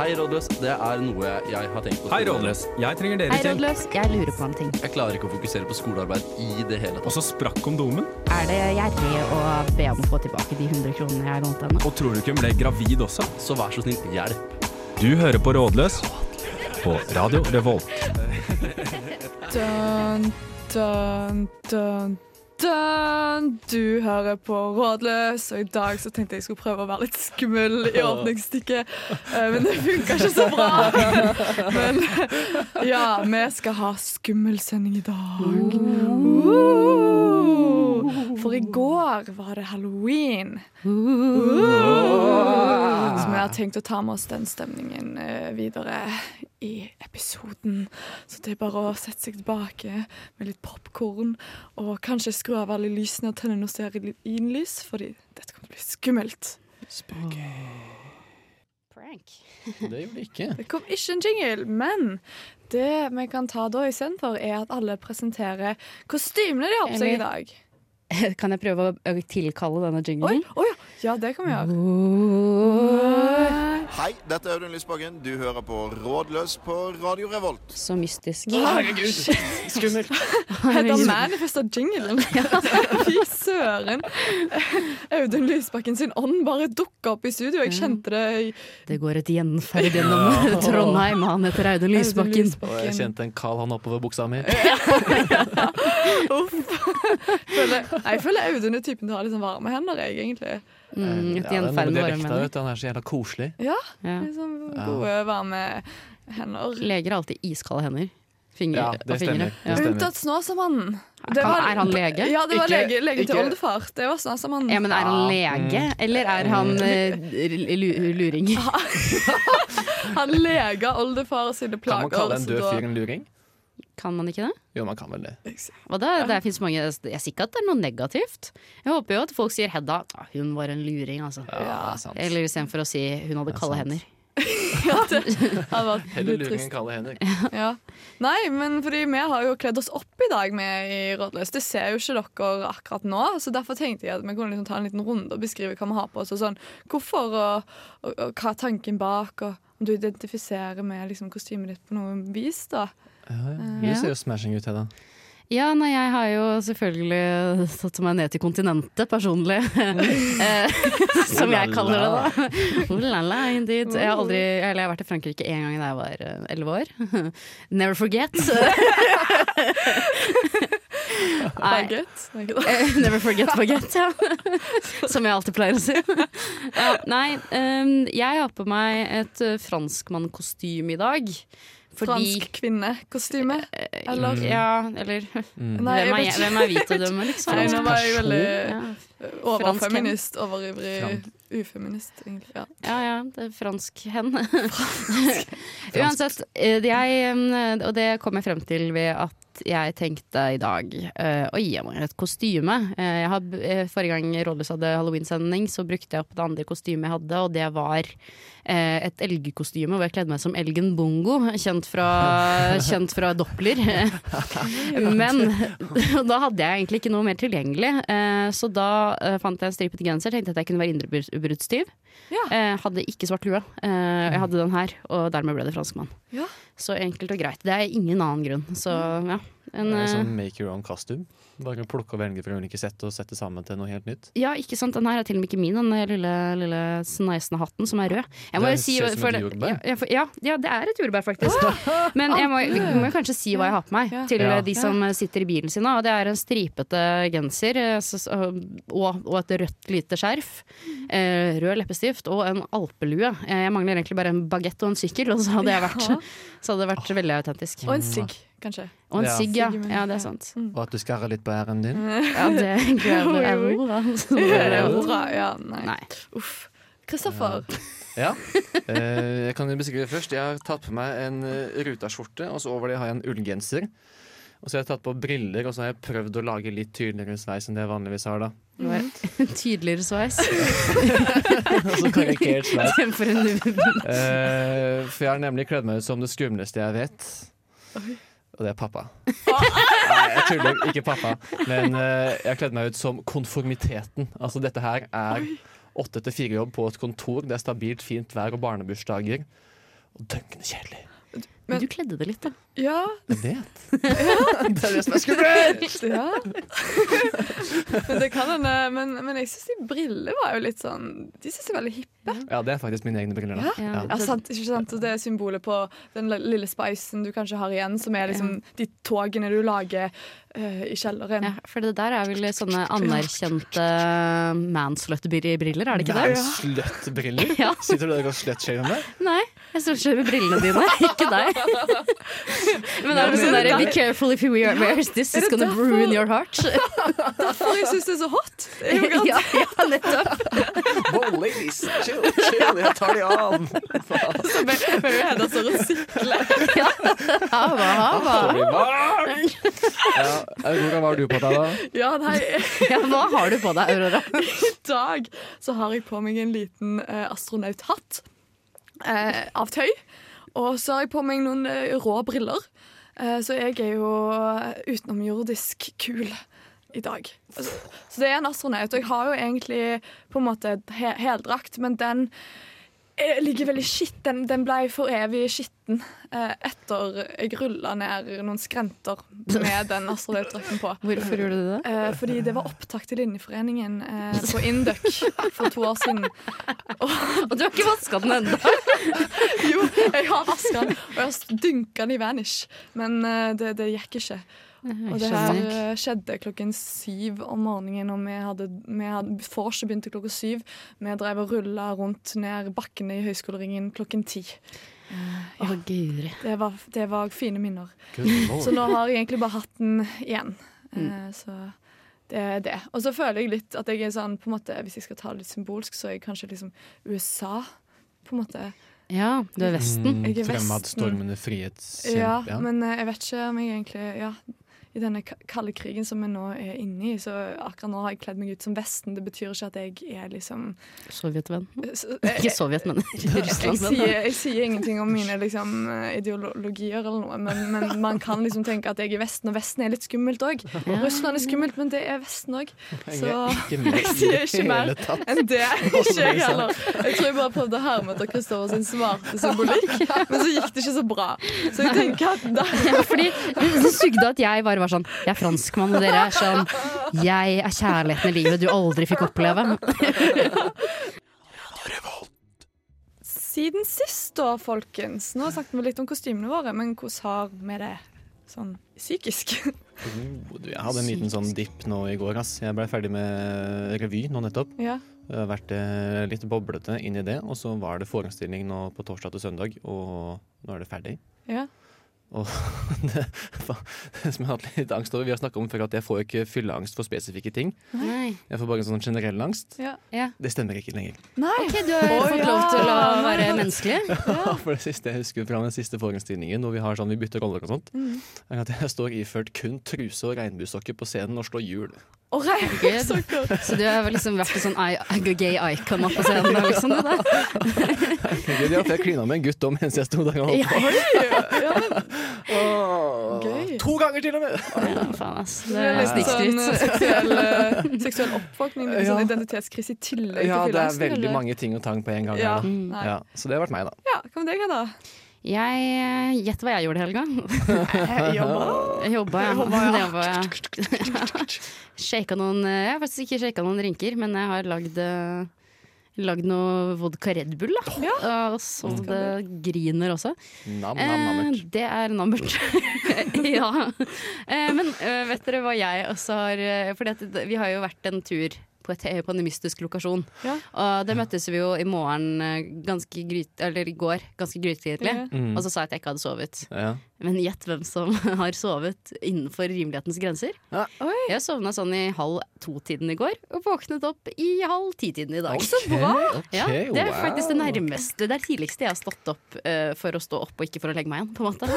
Hei, rådløs. Det er noe jeg har tenkt på. Hei, Rådløs. Jeg trenger Hei, deres hjelp. rådløs. Jeg lurer på en ting. Jeg klarer ikke å fokusere på skolearbeid i det hele Og tatt. så sprakk kondomen. Er det gjerrig å be om å få tilbake de 100 kronene jeg lånte henne? Og tror du ikke hun ble gravid også? Så vær så snill, hjelp. Du hører på Rådløs på Radio Revolt. Dun, dun, dun, dun. Du hører på Rådløs, og i dag så tenkte jeg skulle prøve å være litt skummel i åpningsstykket. Eh, Men det funka ikke så bra. Men ja, vi skal ha skummelsending i dag. Uh. For i går var det halloween. Så vi har tenkt å ta med oss den stemningen eh, videre i episoden. Så det er bare å sette seg tilbake med litt popkorn og kanskje skru av alle lysene og tenne noe stearinlys, fordi dette kommer til å bli skummelt. Prank. Det gjorde det ikke. Det kom ikke en jingle, men det vi kan ta da istedenfor, er at alle presenterer kostymene de har på seg i dag. Kan jeg prøve å- å tilkalle denne Mhm. Oi, jinglen? oi, ja, det kan vi gjøre. Hei, dette er Audun Lysbakken. Du hører på Rådløs på Radio Revolt. Så mystisk. Skummelt. Hedda Manifest av jinglen. Fy søren. Audun Lysbakken sin ånd bare dukka opp i studio. Jeg kjente det i Det går et gjenferd gjennom Trondheim. Han heter Audun Audun Lysbakken. Og jeg kjente en kal han oppover buksa mi. Føler, nei, jeg føler Audun er typen til å ha litt sånn varme hender, jeg, egentlig. det Mm, et er noe gjenferd med med våre dialekta, menn. vet du. Han er så jævla koselig. Ja, Ja. litt sånn gode, varme hender. Leger har alltid iskalde hender. Fingre, Ja, og det fingre. stemmer. Det Ja. stemmer. Unntatt Snåsamannen. Det Kan- var- Er han lege? Ja, det var Ikke- lege, legen til ikke- oldefar. Det var Snåsamannen. Ja, men er han Mm. lege, eller er han eh, lu- luring? Han lega oldefar sine Kan plager. man kalle en så død da- fyr en luring? Kan man ikke det? Jo, man kan vel det. Hva da? Det finnes mange Jeg sier ikke at det er noe negativt. Jeg håper jo at folk sier Hedda «Ah, hun var en luring, altså. Ja, det er sant. Eller istedenfor å si hun hadde er kalde sant. hender. Ja, det hadde vært Heller litt luring trist. enn kalde hender. Ja. Nei, men fordi vi har jo kledd oss opp i dag med i Rådløs. Det ser jo ikke dere akkurat nå, så derfor tenkte jeg at vi kunne liksom ta en liten runde og beskrive hva vi har på oss, og sånn hvorfor, og, og, og hva er tanken bak, og om du identifiserer med liksom, kostymet ditt på noe vis, da. Ja, ja. Ja. Du ser jo smashing ut, Hedda. Ja, nei, jeg har jo selvfølgelig tatt meg ned til kontinentet personlig. Eh, Som jeg kaller det, da. Oh la la, indeed. Jeg har, aldri, eller jeg har vært i Frankrike én gang da jeg var eh, elleve år. Never forget. Nei, Baguette. Nei, ikke det. Eh, Never forget baguette, ja. Som jeg alltid pleier å si. Ja, nei, ehm, jeg har på meg et eh, franskmannkostyme i dag. Fordi Fransk kvinnekostyme. Eller? Ja, eller Nei, eh, hvem, er, jeg jeg- vet ikke. hvem er vi til å dømme, liksom? Nei, nå var jeg person? veldig ja. overfeminist, overivrig Frank. ufeminist, egentlig. Ja. ja ja, det er fransk hen. Uansett, eh, jeg, mm, og det kom jeg frem til ved at jeg tenkte i dag eh, Oi, jeg må gjøre et kostyme. Eh, jeg har, b- eh, forrige gang Rådløs hadde halloweensending, så brukte jeg opp det andre kostymet jeg hadde, og det var eh, et elgkostyme hvor jeg kledde meg som elgen Bongo, kjent fra, kjent fra Doppler. Men og da hadde jeg egentlig ikke noe mer tilgjengelig, eh, så da eh, fant jeg en stripet genser, tenkte at jeg kunne være indrebruddstyv. Ja. Eh, hadde ikke svart lue. Eh, jeg hadde den her, og dermed ble det franskmann. Ja. Så enkelt og greit. Det er ingen annen grunn. Så ja. En, Det er eh, sånn make your own costume. Bare kan plukke og velge fra ulike sett og sette sammen til noe helt nytt. ja, ikke sant. Den her er til og med ikke min, den der lille, lille sneisende hatten som er rød. Jeg må Det jo si, ser ut som for et det- jordbær. Ja, for- ja, ja, det er et jordbær, faktisk. Men jeg må, vi må jo kanskje si hva jeg har på meg Ja. til Ah, Ja. eh, de som eh, sitter i bilen sin. da. Og det er en stripete genser eh, s- s- og, og et rødt lite skjerf. eh, Rød leppestift og en alpelue. Eh, Jeg mangler egentlig bare en bagett og en sykkel, og så hadde jeg vært, Ja. så hadde det vært veldig autentisk. Og en sigg, kanskje. Og en Ja. sigg, ja. Sigg, men- ja. Det ja. er sant. Og at du skarrer litt på æren din. Ja, det Oi, gleder jeg oi. meg. Ja, nei. Nei. Uff. Kristoffer. Ja. Eh, jeg kan jo beskrive først. Jeg har tatt på meg en eh, Ruta-skjorte, og så over det har jeg en ullgenser. Og så har jeg tatt på briller, og så har jeg prøvd å lage litt tydeligere sveis enn det jeg vanligvis har. da. Det var en tydeligere sveis Altså karikert sveis. fremfor en Eh, for jeg har nemlig kledd meg ut som det skumleste jeg vet. Og det er pappa. Nei, jeg tuller. Ikke pappa. Men eh, jeg har kledd meg ut som konformiteten. Altså dette her er åtte til fire jobb på et kontor. Det er stabilt fint vær og barnebursdager. og dønkende kjedelig. Men du kledde det litt, da. Ja, Jeg vet. det er det som er skummelt! ja. men det kan hende. Men, men jeg syns de brillene var jo litt sånn De syns jeg er veldig hippe. Ja, det er faktisk mine egne briller. da. Ja. Ja, sant, ikke sant? Og det er symbolet på den li- lille spicen du kanskje har igjen, som er liksom de togene du lager eh, i kjelleren. Ja, for det der er vel sånne anerkjente manslut-briller, er det ikke Det det? er Sløttbriller? Ja. Sitter du der og sluttshaver med? Nei, jeg står ikke med brillene dine, ikke deg. Men er det men sånn er det der Be deg? careful if you wear wears this, Er it's det gonna derfor? ruin your heart. Derfor jeg syns det er så hot! Det er jo ja, godt. ja, nettopp. Wow, ladies, chill, chill, jeg tar de av! Faen, Så Mary- Mary Hedda står og sikler. Ja. Hava, hava. så blir det varmt! Ja, Aurora, hva har du på deg, da? Ja, nei, Ja, hva har du på deg, Aurora? i dag så har jeg på meg en liten eh, astronauthatt eh, av tøy. Og så har jeg på meg noen eh, rå briller. Eh, så jeg er jo eh, utenomjordisk kul i dag. Altså, så det er en astronaut. Og jeg har jo egentlig på en måte he heldrakt, men den eh, ligger veldig skitt. Den, den ble for evig skitten eh, etter jeg rulla ned noen skrenter med den astronautdrakten på. Hvorfor gjorde du det? Eh, fordi det var opptak til Linjeforeningen eh, på Induc for to år siden. Og du har ikke vaska den ennå. Jo, jeg har vaska den, og jeg har dynka den i Vanish, men eh, det, det gikk ikke. Og det her Skjønner. eh, skjedde klokken syv om morgenen, og vi hadde, vi hadde vorset begynte klokka syv. Vi drev og rulla rundt ned bakkene i Høyskoleringen klokken ti. Å, guri. Det var, det var fine minner. Good Så lord. nå har jeg egentlig bare hatt den igjen. Eh, så det er det. Og så føler jeg litt at jeg er sånn, på en måte, hvis jeg skal ta det litt symbolsk, så er jeg kanskje liksom USA, på en måte. Ja, du er Mm. Vesten. Jeg er Fremad Vesten. stormende frihetskjemp. Ja, Ja. men eh, jeg vet ikke om jeg egentlig ja, I denne ka- kalde krigen som jeg nå er inne i, så akkurat nå har jeg kledd meg ut som Vesten. Det betyr ikke at jeg er liksom eh, Sovjetvenn. så- Ikke Sovjet, men jeg Sånn. Russland. sier, jeg sier ingenting om mine liksom, eh, ideologier eller noe, men, men man kan liksom tenke at jeg er Vesten, og Vesten er litt skummelt òg. Ja. Russland er skummelt, men det er Vesten òg. Jeg Så er ikke med Jeg sier ikke i det mer. hele tatt. enn det. Ikke jeg heller. Jeg tror jeg bare prøvde å herme etter Kristoffer sin smarte symbolikk, men så gikk det ikke så bra. Så jeg tenker at da Ja, fordi det, det sugde at jeg bare var sånn Jeg er franskmann, og dere er sånn Jeg er kjærligheten i livet du aldri fikk oppleve. Siden sist, da, folkens. Nå snakket vi litt om kostymene våre, men hvordan har vi det sånn psykisk? Oh, du, Jeg hadde en liten sånn dipp nå i går. Ass. Jeg ble ferdig med revy nå nettopp. Ja. Jeg har vært eh, litt boblete inn i det, og så var det forestilling nå på torsdag til søndag, og nå er det ferdig. ja. det, det som jeg har hatt litt angst over Vi har snakka om før at jeg får jo ikke fylleangst for spesifikke ting. Nei. Jeg får bare en sånn generell angst. ja. Ja. Det stemmer ikke lenger. Nei. Ok, du har Å, fått ja. lov til å være menneskelig. For det siste jeg husker fra den siste forestillingen, hvor vi har sånn vi bytter roller og sånt, er at jeg står iført kun truse og regnbuesokker på scenen og slår hjul. Og regnbuesokker. Så du har liksom vært en sånn i- gay icon opp på scenen. og Liksom, det der. Gud, ja, for Jeg klina med en gutt om mens jeg sto der og holdt Ja, Ja, men gøy. To ganger til og med! faen, ass. Det Det er er litt sånn eh, snikskryt. seksuell, eh, seksuell oppvåkning, litt Ja. sånn identitetskrise i tillegg til Ja, det er fylleangsten, veldig eller? mange ting og tang på en gang. Ja. her, da. Nei. Ja, så det har vært meg, da. ja, hva med deg, da? Jeg eh, Gjett hva jeg gjorde i helga. Jeg jobba, ja. Det jobba jeg. Shaka noen eh, Jeg har faktisk ikke shaka noen drinker, men jeg har lagd eh, Lagd noe vodka Red Bull, da. Og så det griner også. Nam, nam, Eh, nammert. det er nammert. ja. Eh, men eh, vet dere hva jeg også har eh, Fordi at det- vi har jo vært en tur på, et, eh, på en mystisk lokasjon. Ja. Og der møttes vi jo i morgen eh, ganske gryt, eller i går, ganske grytidlig. Ja. Mm. Og så sa jeg at jeg ikke hadde sovet. Ja. Men gjett hvem som har sovet innenfor rimelighetens grenser. Ja. Oi. Jeg sovna sånn i halv to-tiden i går, og våknet opp i halv ti-tiden i dag. bra! Ja, det er faktisk det nærmeste. Det er tidligste jeg har stått opp eh, for å stå opp og ikke for å legge meg igjen, på en måte.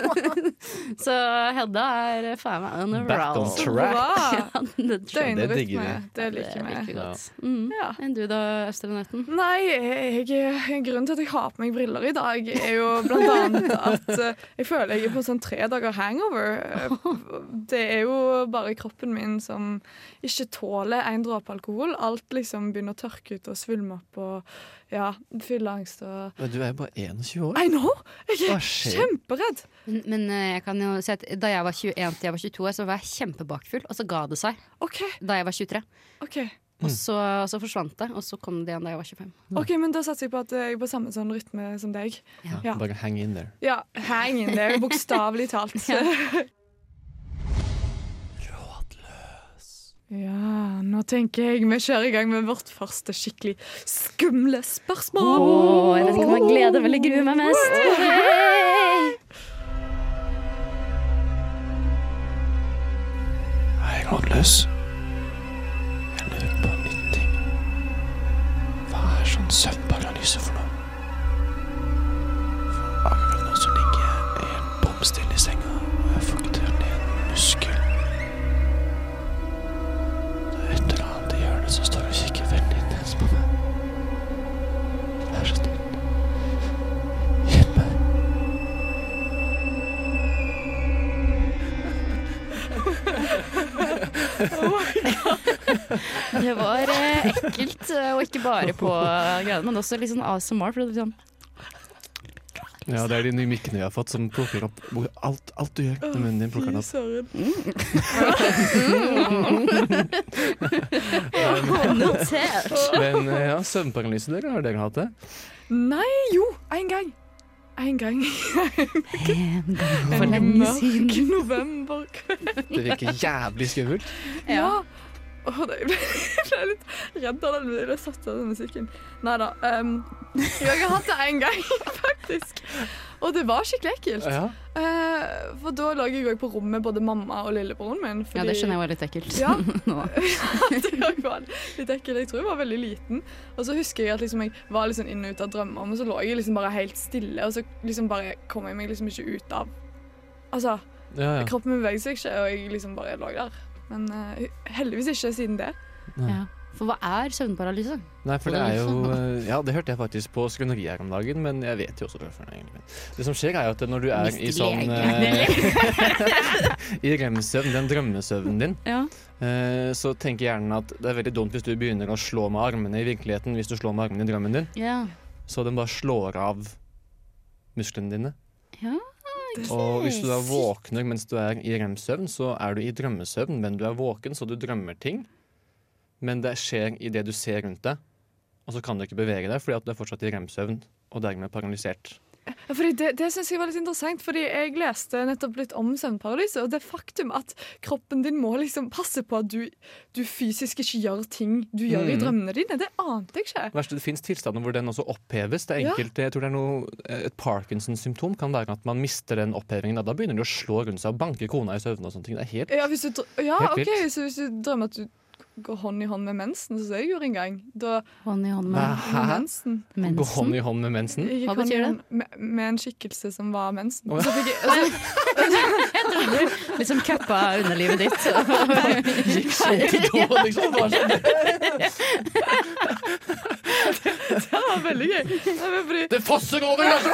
så Hedda er eh, faen meg on a Back on roll. track. Bra! Ja, det tror jeg. Det digger Døgnrytme. vi. Det Det liker vi. liker vi godt. Mm. Ja. Enn du da, Østrenauten? Nei, jeg, grunnen til at jeg har på meg briller i dag, er jo blant annet at eh, Jeg føler jeg er på sånn tre dager hangover. Eh, Det er jo bare kroppen min som ikke tåler en dråpe alkohol. Alt liksom begynner å tørke ut og svulme opp og ja, fylleangst og Men du er jo bare 21 år. I know! Jeg Hva er skjer? kjemperedd. Men, men eh, jeg kan jo si at da jeg var 21 til jeg var 22 år, så var jeg kjempebakfull, og så ga det seg OK, da jeg var 23. ok. Mm. Og så, og så forsvant det, og så kom det igjen da jeg var 25. Ok, men Da satser jeg på at jeg er på samme sånn rytme som deg. Ja. Bare hang in there. Ja, hang in there, bokstavelig talt. Ja, nå tenker jeg vi kjører i gang med vårt første skikkelig skumle spørsmål. Åh, jeg vet ikke om jeg gleder meg eller gruer meg mest. Jeg er rådløs. Jeg lurer på en liten ting. Hva er sånn søvnparalyse for noe? For akkurat nå så ligger jeg helt bomstille i senga, og jeg får ikke til en muskel. Det er et eller annet i hjørnet som står og kikker veldig intenst på meg. Det er så stille. Hjelp meg. Det var eh, ekkelt, eh, og ikke bare på greiene, men også litt sånn ASMR. For det er sånn, Ja, det er de nye mikkene vi har fått, som plukker opp alt, alt du gjør med munnen din. plukker den opp. opp. notert. Men eh, ja, søvnparalyse, dere har dere hatt det? Nei, jo, en gang. En gang. For lenge siden. Mørk novemberkveld. Det virker jævlig skummelt. Ja. Åh, det- jeg ble jeg ble litt redd av den, jeg ble satt av den musikken. Nei da. ehm, jeg har hatt det én gang, faktisk. Og det var skikkelig ekkelt. Ja. Eh, for da lå jeg òg på rommet med både mamma og lillebroren min. Fordi, Ja, det skjønner jeg var litt ekkelt. Ja. Nå. det òg var litt ekkelt. Jeg tror jeg var veldig liten. Og så husker jeg at liksom jeg var liksom inn og ut av drømmer, men så lå jeg liksom bare helt stille. Og så liksom bare kom jeg meg liksom ikke ut av Altså, Ja, ja. kroppen min beveget seg ikke, og jeg liksom bare lå der. Men eh, heldigvis ikke siden det. Ja. For hva er søvnparalyse? Nei, for det er jo eh, Ja, det hørte jeg faktisk på skrøneri her om dagen, men jeg vet jo også hvorfor. det er egentlig. Det som skjer, er jo at når du er i sånn eh, I rem-søvn, den drømmesøvnen din, Ja. eh, så tenker hjernen at det er veldig dumt hvis du begynner å slå med armene i virkeligheten hvis du slår med armene i drømmen din, Ja. så den bare slår av musklene dine. Ja, Og hvis du da våkner mens du er i rem-søvn, så er du i drømmesøvn, men du er våken, så du drømmer ting. Men det skjer i det du ser rundt deg, og så kan du ikke bevege deg fordi at du er fortsatt i rem-søvn og dermed paralysert. Ja, Fordi det det synes jeg var litt interessant, fordi jeg leste nettopp litt om søvnparalyse, og det faktum at kroppen din må liksom passe på at du, du fysisk ikke gjør ting du gjør i Mm. drømmene dine, det ante jeg ikke. Det verste, det fins tilstander hvor den også oppheves. Det er Ja. enkelte, jeg tror det er noe, eh, Et Parkinson-symptom kan være at man mister den opphevingen. og Da begynner du å slå rundt seg og banke kona i søvne og sånne ting. Det er helt Ja, hvis du, dr- ja Helt ok, vilt. så hvis du drømmer at du går hånd i hånd med mensen, så jeg gjorde en gang, da Hånd i hånd Nei. med Hæ? med mensen. Gå mensen. hånd i hånd med mensen. Jeg Hva gikk hånd i betyr det? hånd Med, med en skikkelse som var mensen. Å, ja. Så fikk jeg, altså, Liksom kuppa underlivet ditt. Gikk så til do, liksom. Bare sånn, det var veldig gøy. Nei, men fordi, Det fosser over! Altså!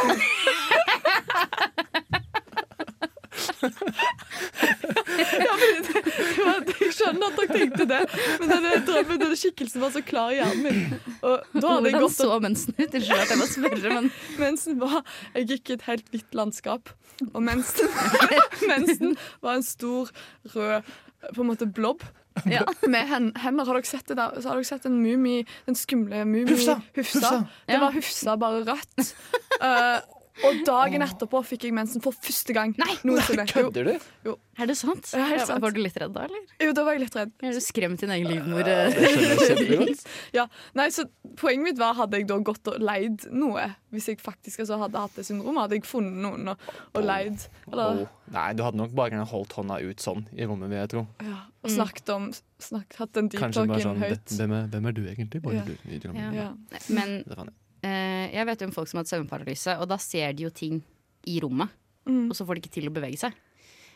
ja, fordi det, det var, jeg skjønner at dere tenkte det, men denne drømmen, denne skikkelsen var så klar i hjernen min. Og da hadde jeg Hvordan gått så mensen ut? Unnskyld at jeg må spørre, men Mensen var Jeg gikk i et helt hvitt landskap, og mensen, mensen var en stor, rød på en måte blobb. Ja. Med hen, hender. Har dere sett det der? Så har dere sett en mumi, den skumle mumi Hufsa! Hufsa! Det var Hufsa, bare rødt. Eh, og dagen etterpå fikk jeg mensen for første gang. Nei! noensinne. Jo, Kødder du? er det sant? Ja, helt sant. Var du litt redd da, eller? jo, da var jeg litt redd. Er du skremt din egen livmor? Jeg skjønner det kjempegodt. Ja, nei, så Poenget mitt var hadde jeg da gått og leid noe, hvis jeg faktisk altså, hadde hatt det syndromet, hadde jeg funnet noen og, og leid. Eller, Åh, Nei, du hadde nok bare holdt hånda ut sånn i rommet, vil jeg tro. Ja, og Mm. snakket om snakket, Hatt den deep Kanskje bare talken sånn høyt. hvem er, hvem er du egentlig? Bare Ja. du i drømmen. Ja. Ja. Men Det fant jeg. eh, jeg vet jo om folk som har hatt søvnparalyse, og da ser de jo ting i rommet. Mm. Og så får de ikke til å bevege seg.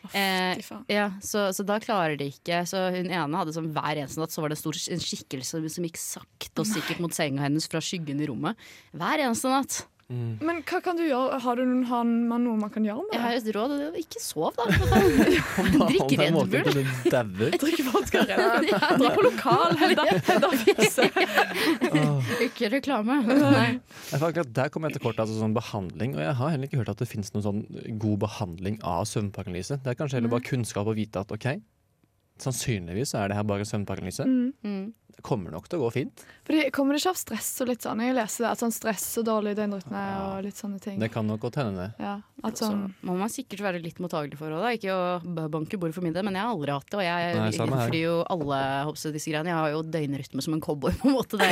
Fy Eh, faen. ja, så, så da klarer de ikke. Så hun ene hadde sånn hver eneste natt Så var det en, stor, en skikkelse som gikk sakte og sikkert mot senga hennes fra skyggen i rommet. Hver eneste natt. mm. Men hva kan du gjøre? Har du noen, har man noe man kan gjøre med Jeg det? har et råd, og det er ikke sov, da. for faen. Drikk Red Bull. Bull. Du dauer. Drikke vodka Red Bull. Dra på lokal, Hedda. Hedda Fise. Åh. Ikke reklame. Nei. Jeg får akkurat Der kom jeg til kort, altså sånn behandling. Og jeg har heller ikke hørt at det finnes noen sånn god behandling av søvnparalyse. Det er kanskje heller bare kunnskap å vite at OK, sannsynligvis så er det her bare søvnparalyse. Mm. Mm. Det kommer nok til å gå fint. Fordi Kommer det ikke av stress og litt sånn? Jeg leser det, at sånn stress og dårlig døgnrytme og litt sånne ting. Det kan nok godt hende, det. Ja, at Så sånn må man sikkert være litt mottagelig for det. da. Ikke å b- banke bordet for min del, men jeg har aldri hatt det. Og jeg Nei, samme her. innfrir jo alle hoppse, disse greiene. Jeg har jo døgnrytme som en cowboy, på en måte. Det,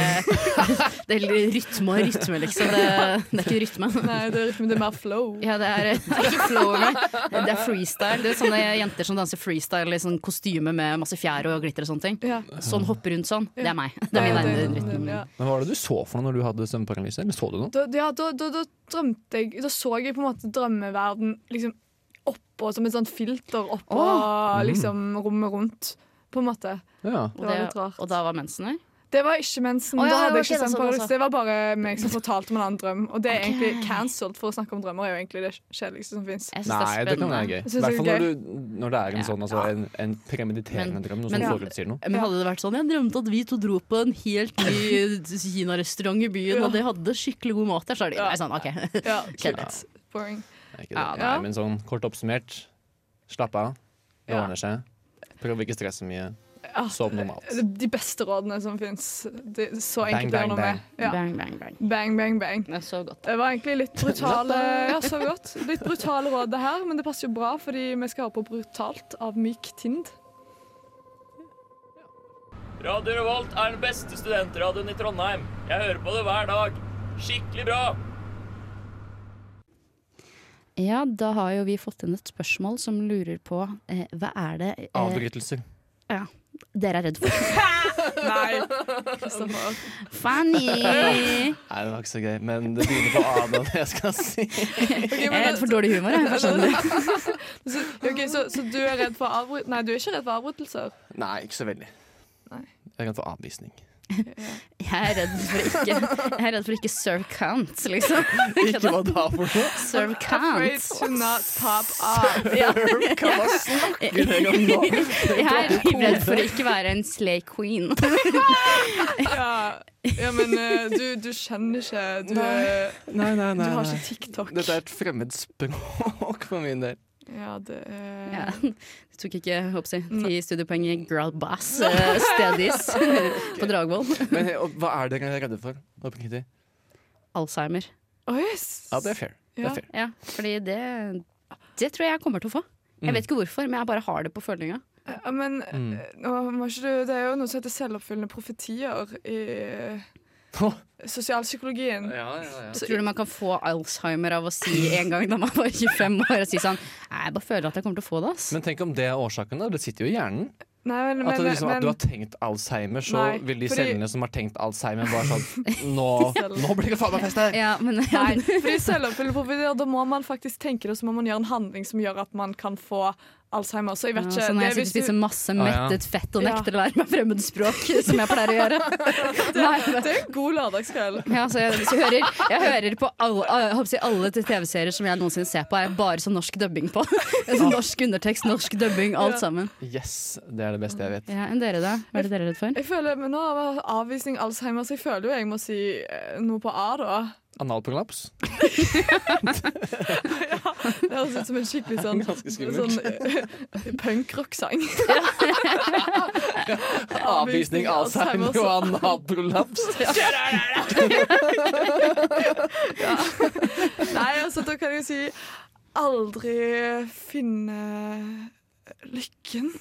det er rytme og rytme, liksom. Det, det er ikke rytme. Nei, det er, rytme, det er mer flow. Ja, det er, det er ikke flow engang. Det er freestyle. Det er sånne jenter som danser freestyle i sånn kostyme med masse fjær og glitter og sånne ting. Ja. Sånn hopper rundt sånn. Det er meg. Det er min egen rytme. Ja. Men hva var det du så for noe når du hadde søvnparalyse? Eller så du noe? Da, ja, da, da, da drømte jeg Da så jeg på en måte drømmeverden liksom oppå, som et sånt filter oppå Mm. liksom, rommet rundt. På en måte. Ja. Og, Det var det, litt rart. og da var mensen der? Det var ikke mensen. Å, ja, da hadde det var jeg ikke ikke det, sendt sånn, Paradise. altså. Det var bare meg som fortalte om en annen drøm. Og det er egentlig cancelled, for å snakke om drømmer er jo egentlig det kjedeligste som fins. Jeg synes Nei, det kan være gøy. spennende. I Jeg synes det hvert er fall når, du- når det er en sånn altså, en, en premediterende Men- drøm, noe men- som Ja. forutsier noe. Men hadde det vært sånn Jeg drømte at vi to dro på en helt ny kinarestaurant i byen, og de hadde skikkelig god mat der, så er det Ja. nei, sånn, OK. Ja, Kjedelig. kult. Boring. Er ikke det? Ja, Nei, da. men sånn kort oppsummert, slapp av. Det Ja. ordner seg. Prøv å ikke stresse så mye. Ja. Sov normalt. De beste rådene som fins. Så Bang, enkelt å gjøre bang, noe med. Ja. Bang, bang, bang. Bang, bang, bang. Det er så godt. Det var egentlig litt brutale Ja, så godt. Litt brutale råd, det her, men det passer jo bra, fordi vi skal høre på Brutalt av Myk Tind. Radio Revolt er den beste studentradioen i Trondheim. Jeg hører på det hver dag. Skikkelig bra! Ja, da har jo vi fått inn et spørsmål som lurer på eh, hva er det eh, Avbrytelser. dere er redd for? Nei! Kristoffer. Fanny! Nei, det var ikke så gøy, men det begynner på A nå, det jeg skal si. Ok, Jeg er men, redd for sånn- dårlig humor. Jeg, jeg skjønner det. så, ok, så, så du er redd for avbrytelser? Nei, du er ikke redd for avbrytelser. Nei, ikke så veldig. Nei. Jeg er redd for avvisning. jeg er redd for ikke Jeg er redd for ikke serve count, liksom. Ikke hva da for noe? Serve Afraid count. to not pop up. Ja. Hva snakker dere om nå? Jeg er livredd for å ikke være en slay queen. Ja, ja men eh, du, du kjenner ikke Du, eh, Nei. Nei, nei, du nei. har nei. ikke TikTok. Dette er et fremmed språk for min del. Ja, det er Ja. Jeg tok ikke håper jeg, ti studiepoeng i girl bass eh, stedis på Dragvoll. Men eh, og, hva er dere redde for? Oppriktig. Alzheimer. Å, yes. Ja, det er fair. Det Ja. er fair. Ja, fordi det, det tror jeg jeg kommer til å få. Jeg vet ikke hvorfor, men jeg bare har det på følinga. Ja, men Mm. eh, nå må ikke du, det er jo noe som heter selvoppfyllende profetier i Hå. sosialpsykologien. Ja, ja, ja. Tror du man kan få Alzheimer av å si en gang da man var 25 år og si sånn Nei, jeg bare føler at jeg kommer til å få det, ass. Men tenk om det er årsaken, da. Det sitter jo i hjernen. Nei, men, At, men, det liksom, at men du har tenkt alzheimer, så Nei, vil de fordi- cellene som har tenkt alzheimer, bare sånn Nå, nå blir det faen meg fest her! Ja, men Nei, fordi selvoppfyllende profetier, da må man faktisk tenke det, og så må man gjøre en handling som gjør at man kan få Alzheimer. Så jeg Ja, vet ikke så Mm, sånn når det er jeg sitter og hvis du- spiser masse ja. mettet fett og nekter å lære meg fremmedspråk, som jeg pleier å gjøre Nei, men- Det er en god lørdagskveld. Ja, så jeg, så jeg, hører, jeg hører på alle, jeg håper å si alle til TV-serier som jeg noensinne ser på, er bare sånn norsk dubbing på. Altså, norsk undertekst, norsk dubbing, alt sammen. Yes, det er det beste jeg vet. Ja, enn dere, da? Hva er det dere er redd for? Jeg føler, men Nå var avvisning Alzheimer, så jeg føler jo jeg må si eh, noe på A, da. Analprolaps. Det høres ut som en skikkelig sånn, Ganske sånn skummelt. eh, punkrock-sang. Avvisning, Alzheimer og analprolaps. Nei, altså da kan jeg si aldri finne lykken.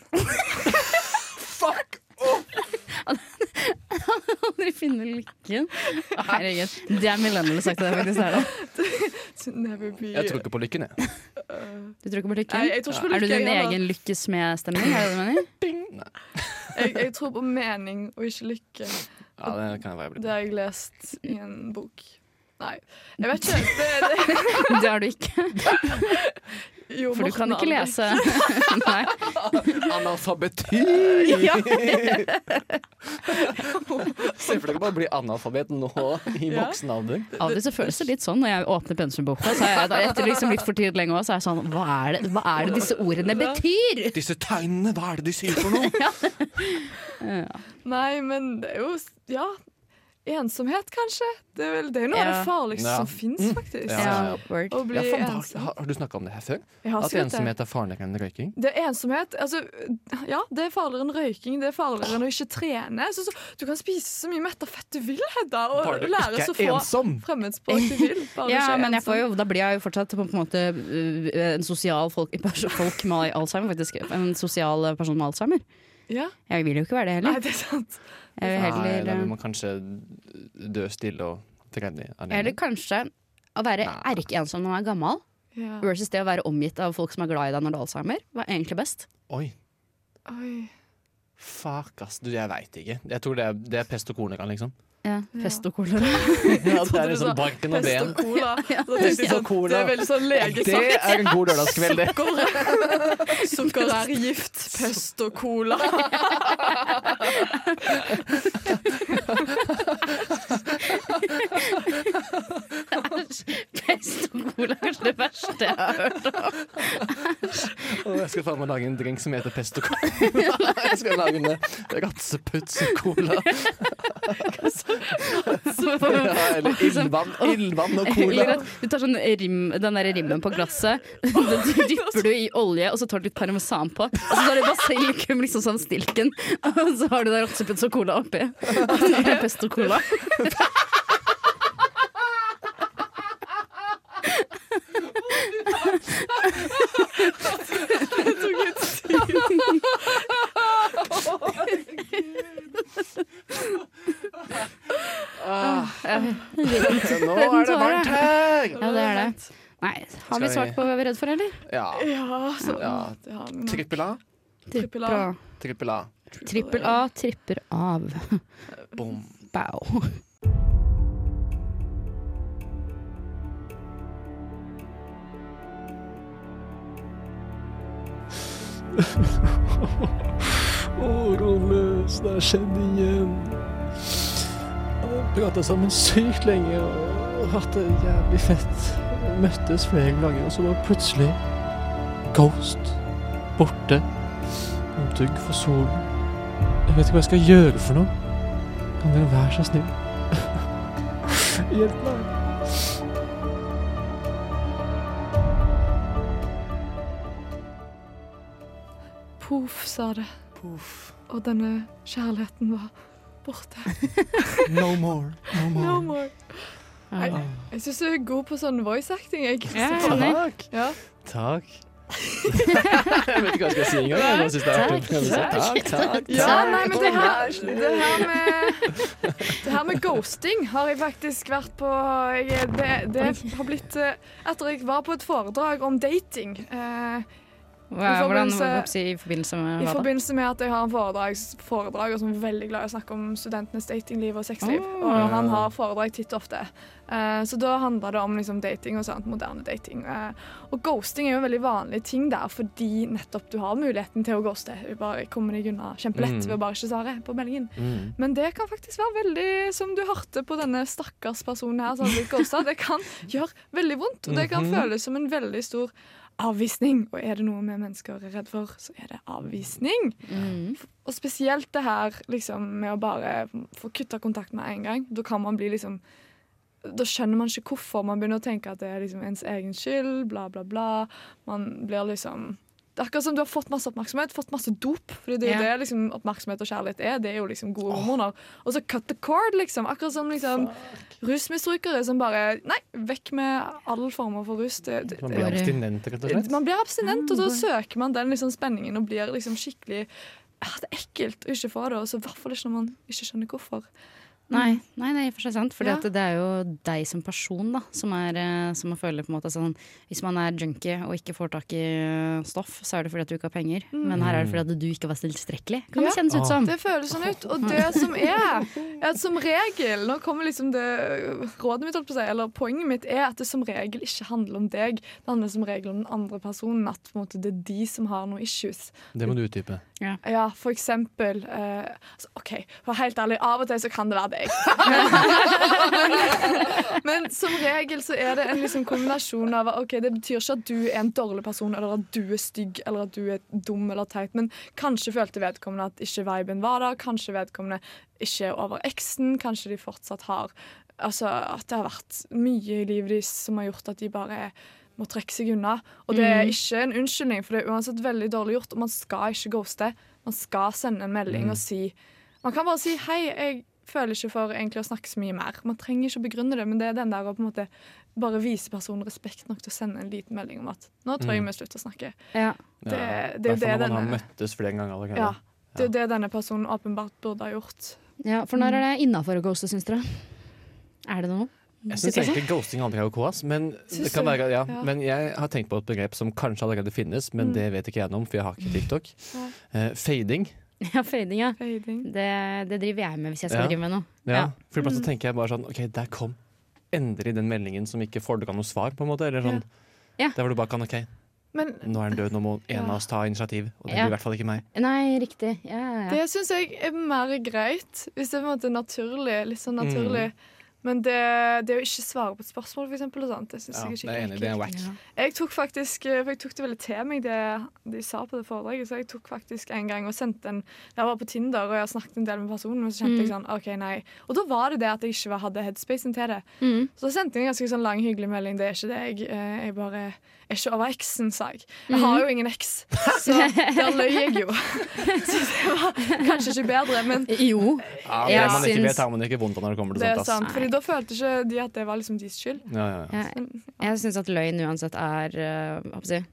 Aldri finne lykken. Å, Herregud. Det er millennial sagt til deg, faktisk. Er det. To never be Jeg tror ikke på lykken, jeg. Du tror ikke på Nei, lykken? jeg tror ikke på er du lykke, din jeg har- egen lykkesmedstemning? Er det det du mener? Jeg, jeg tror på mening og ikke lykke. Ja, det kan jeg være Det blitt. har jeg lest i en bok. Nei, jeg vet ikke. Det, det, Det har du ikke, jo, for du kan Morten ikke Alvik. lese. Nei. Analfabeti! Ja. Se for deg å bare bli analfabet nå, i Ja. voksen alder. Av og til så føles det litt sånn når jeg åpner pensumboka. Så er jeg, da- etter liksom litt for tidlig lenge også, så er jeg sånn hva er, det, hva er det disse ordene betyr? Disse tegnene, hva er det de sier for noe? Nei, men det er jo s- Ja. Ensomhet, kanskje. Det er, vel, det er jo noe av Ja. Mm. det farligste Ja. som fins, faktisk. Ja, ja, ja. Å bli Ja, faen, har, ensom. har- har du snakka om det her før? Jeg har At sikkert det. ensomhet er farligere enn røyking? Det er ensomhet. Altså, ja, det er farligere enn røyking, det er farligere enn å ikke trene. Så, så, du kan spise så mye metta fett du vil, Hedda, og Bare du lære ikke så er få ensom. fremmedspråk du vil. Bare du Ja, ikke er men jeg ensom. får jo, da blir jeg jo fortsatt på en måte øh, en sosial folk, pers- folk med alzheimer, faktisk. En sosial person med alzheimer. ja. Jeg vil jo ikke være det Nei, heller. det er sant. Jeg vil Nei, da heller, vil øh, man kanskje dø stille og trene alene. eller øh, kanskje å være erkeensom når man er gammel, Ja. versus det å være omgitt av folk som er glad i deg når du har alzheimer, var egentlig best. Oi, Oi. fuck ass, du, jeg veit ikke. Jeg tror det er, det er pest og kolera, liksom. Ja, Fest og kolera. Ja, det er du sa liksom barken og Pest ben. og cola. Så Pest det, er og cola. sånn, det er veldig sånn Det legesak. er en god lørdagskveld, det. Sukker er gift, pest og cola. Fest og kolera er kanskje det verste jeg har hørt. Og jeg skal faen meg lage en drink som heter Pesto Cola. Jeg skal lage en eh, ratseputs og cola. Ja, eller ildvann, ildvann og Eller cola. at du tar sånn rim, den der rimmen på glasset, den dypper du i olje, og så tar du litt parmesan på. Og så tar du basilikum, liksom sånn stilken, og så har du der rottepølse og cola oppi. Og så er det pesto cola. Ah, Nå er det varmt her! Ja, det er det. Nei, har vi Skal vi- svart på hva vi er redd for, eller? Ja. Ja, så, Ja. det har vi nå. Trippel A, Trippel A. trippel A. Trippel A tripper av. Bom. Bow. Å, Rådløs, det har skjedd igjen. Vi har prata sammen sykt lenge og hatt det jævlig fett. Møttes flere ganger, og så var plutselig Ghost borte. En dugg for solen. Jeg vet ikke hva jeg skal gjøre for noe. Kan dere være så snill? Hjelp meg. Poff, sa det. Poff. Og denne kjærligheten var borte. No more. No more. No more. Jeg, jeg syns du er god på sånn voice acting. Jeg. Ja, Takk. Ja. Takk. jeg vet ikke hva jeg skal si engang. Jeg bare synes det er artig. Jeg bare sier Takk, takk, Ja, nei, men det her, det her med Det her med ghosting har jeg faktisk vært på jeg, det, det har blitt eh, Etter jeg var på et foredrag om dating eh, Hva- I Hvordan, forbindelse- hva skal jeg si, I forbindelse med i hva da? forbindelse med at jeg har en foredrag, foredrag og som er veldig glad i å snakke om studentenes datingliv og sexliv. Ah. Og han har foredrag titt og ofte. Eh, så da handler det om liksom, dating og sånt, moderne dating. Eh, og ghosting er jo en veldig vanlig ting der, fordi nettopp du har muligheten til å ghoste. Du bare kommer deg unna kjempelett Mm. ved å bare ikke svare på meldingen. Mm. Men det kan faktisk være veldig, som du hørte på denne stakkars personen her, som har blitt ghosta, det kan gjøre veldig vondt. Og det kan Mhm. føles som en veldig stor avvisning. Og er det noe vi mennesker er redd for, så er det avvisning. Mm. Og spesielt det her liksom, med å bare få kutta kontakt med en gang. Da kan man bli liksom da skjønner man ikke hvorfor man begynner å tenke at det er liksom ens egen skyld, bla, bla, bla. Man blir liksom Det er akkurat som du har fått masse oppmerksomhet, fått masse dop. Fordi det er jo Ja. det liksom, oppmerksomhet og kjærlighet er. Det er jo liksom gode hormoner. Og så cut the cord, liksom. Akkurat som liksom rusmisbrukere som bare Nei, vekk med all form for rus. Det, det, Man blir Bare- abstinent, rett og slett. Mm. man blir abstinent, og da søker man den liksom spenningen og blir liksom skikkelig ja, Det er ekkelt å ikke få det, og så i hvert fall ikke når man ikke skjønner hvorfor. Nei, nei, det er i og for seg sant. For Ja. det er jo deg som person da, som, er, eh, som man føler på en måte sånn Hvis man er junkie og ikke får tak i eh, stoff, så er det fordi at du ikke har penger. Men her Mm. er det fordi at du ikke var tilstrekkelig, kan Ja. det kjennes Ah. ut som. Det føles sånn ut. Og det som er, er at som regel Nå kommer liksom det rådet mitt, holdt på å si, eller poenget mitt, er at det som regel ikke handler om deg. Det handler som regel om den andre personen. At på en måte, det er de som har noen issues. Det må du utdype. Ja, for eksempel eh, altså, OK, for helt ærlig, av og til så kan det være det. deg. Men som regel så er det en liksom kombinasjon av Ok, det betyr ikke at du er en dårlig person, eller at du er stygg, eller at du er dum eller teit, men kanskje følte vedkommende at ikke viben var der, kanskje vedkommende ikke er over eksen, kanskje de fortsatt har Altså at det har vært mye i livet deres som har gjort at de bare må trekke seg unna. Og det er ikke en unnskyldning, for det er uansett veldig dårlig gjort, og man skal ikke ghoste. Man skal sende en Mm. melding og si Man kan bare si 'hei, jeg føler ikke for egentlig å snakke så mye mer'. Man trenger ikke å begrunne det, men det er den der å på en måte bare vise personen respekt nok til å sende en liten melding om at 'nå tror jeg Mm. vi slutter å snakke'. Ja. Det, Ja. det er jo det Hvertfall når man har denne møttes flere ganger allerede. ja, det er jo det denne personen åpenbart burde ha gjort. ja, For når er det innafor å ghoste, syns dere? Er det noe? Jeg syns Sikkert. egentlig ghosting aldri er OK, ass. Men, det Syns kan du? være, ja. Ja. Mm. men jeg har tenkt på et begrep som kanskje allerede finnes, men det vet ikke jeg noe om, for jeg har ikke TikTok. Ja. Eh, fading. Ja, fading, ja. Fading. Det, det driver jeg med hvis jeg skal Ja. drive med noe. Ja. Ja. For iblant så Mm. tenker jeg bare sånn OK, der kom endelig den meldingen som ikke fordra noe svar, på en måte. Eller sånn. Ja. Der hvor du bare kan OK, Men nå er den død, nå må en av oss ta initiativ. Og det Ja. blir i hvert fall ikke meg. Nei, riktig. Ja, ja, ja. Det syns jeg er mer greit, hvis det er på en måte naturlig. Litt sånn Mm. naturlig. Men det, det å ikke svare på et spørsmål, for eksempel, og sånt, det syns jeg er Ja, det er enig, skikkelig det er ekkelt. wack. Jeg tok faktisk, eh, for jeg tok det veldig til meg, det de sa på det foredraget, så jeg tok faktisk en gang og sendte en Jeg var på Tinder, og jeg har snakket en del med personen, men så kjente jeg sånn OK, nei. Og da var det det at jeg ikke var- hadde headspacen til det. Så da sendte jeg en ganske sånn lang, hyggelig melding. Det er ikke det. Jeg, eh, jeg bare er ikke over eksen, sa jeg. Jeg har jo ingen eks, så der løy jeg jo. Så det var kanskje ikke bedre, men Jo. Ja, Jeg det man ikke syns- vet, har man ikke vondt av når det kommer til det er sånt. sant. Fordi da følte ikke de at det var liksom deres skyld. Ass. Ja, ja, ja. Jeg syns at løgn uansett er eh, hva skal jeg si,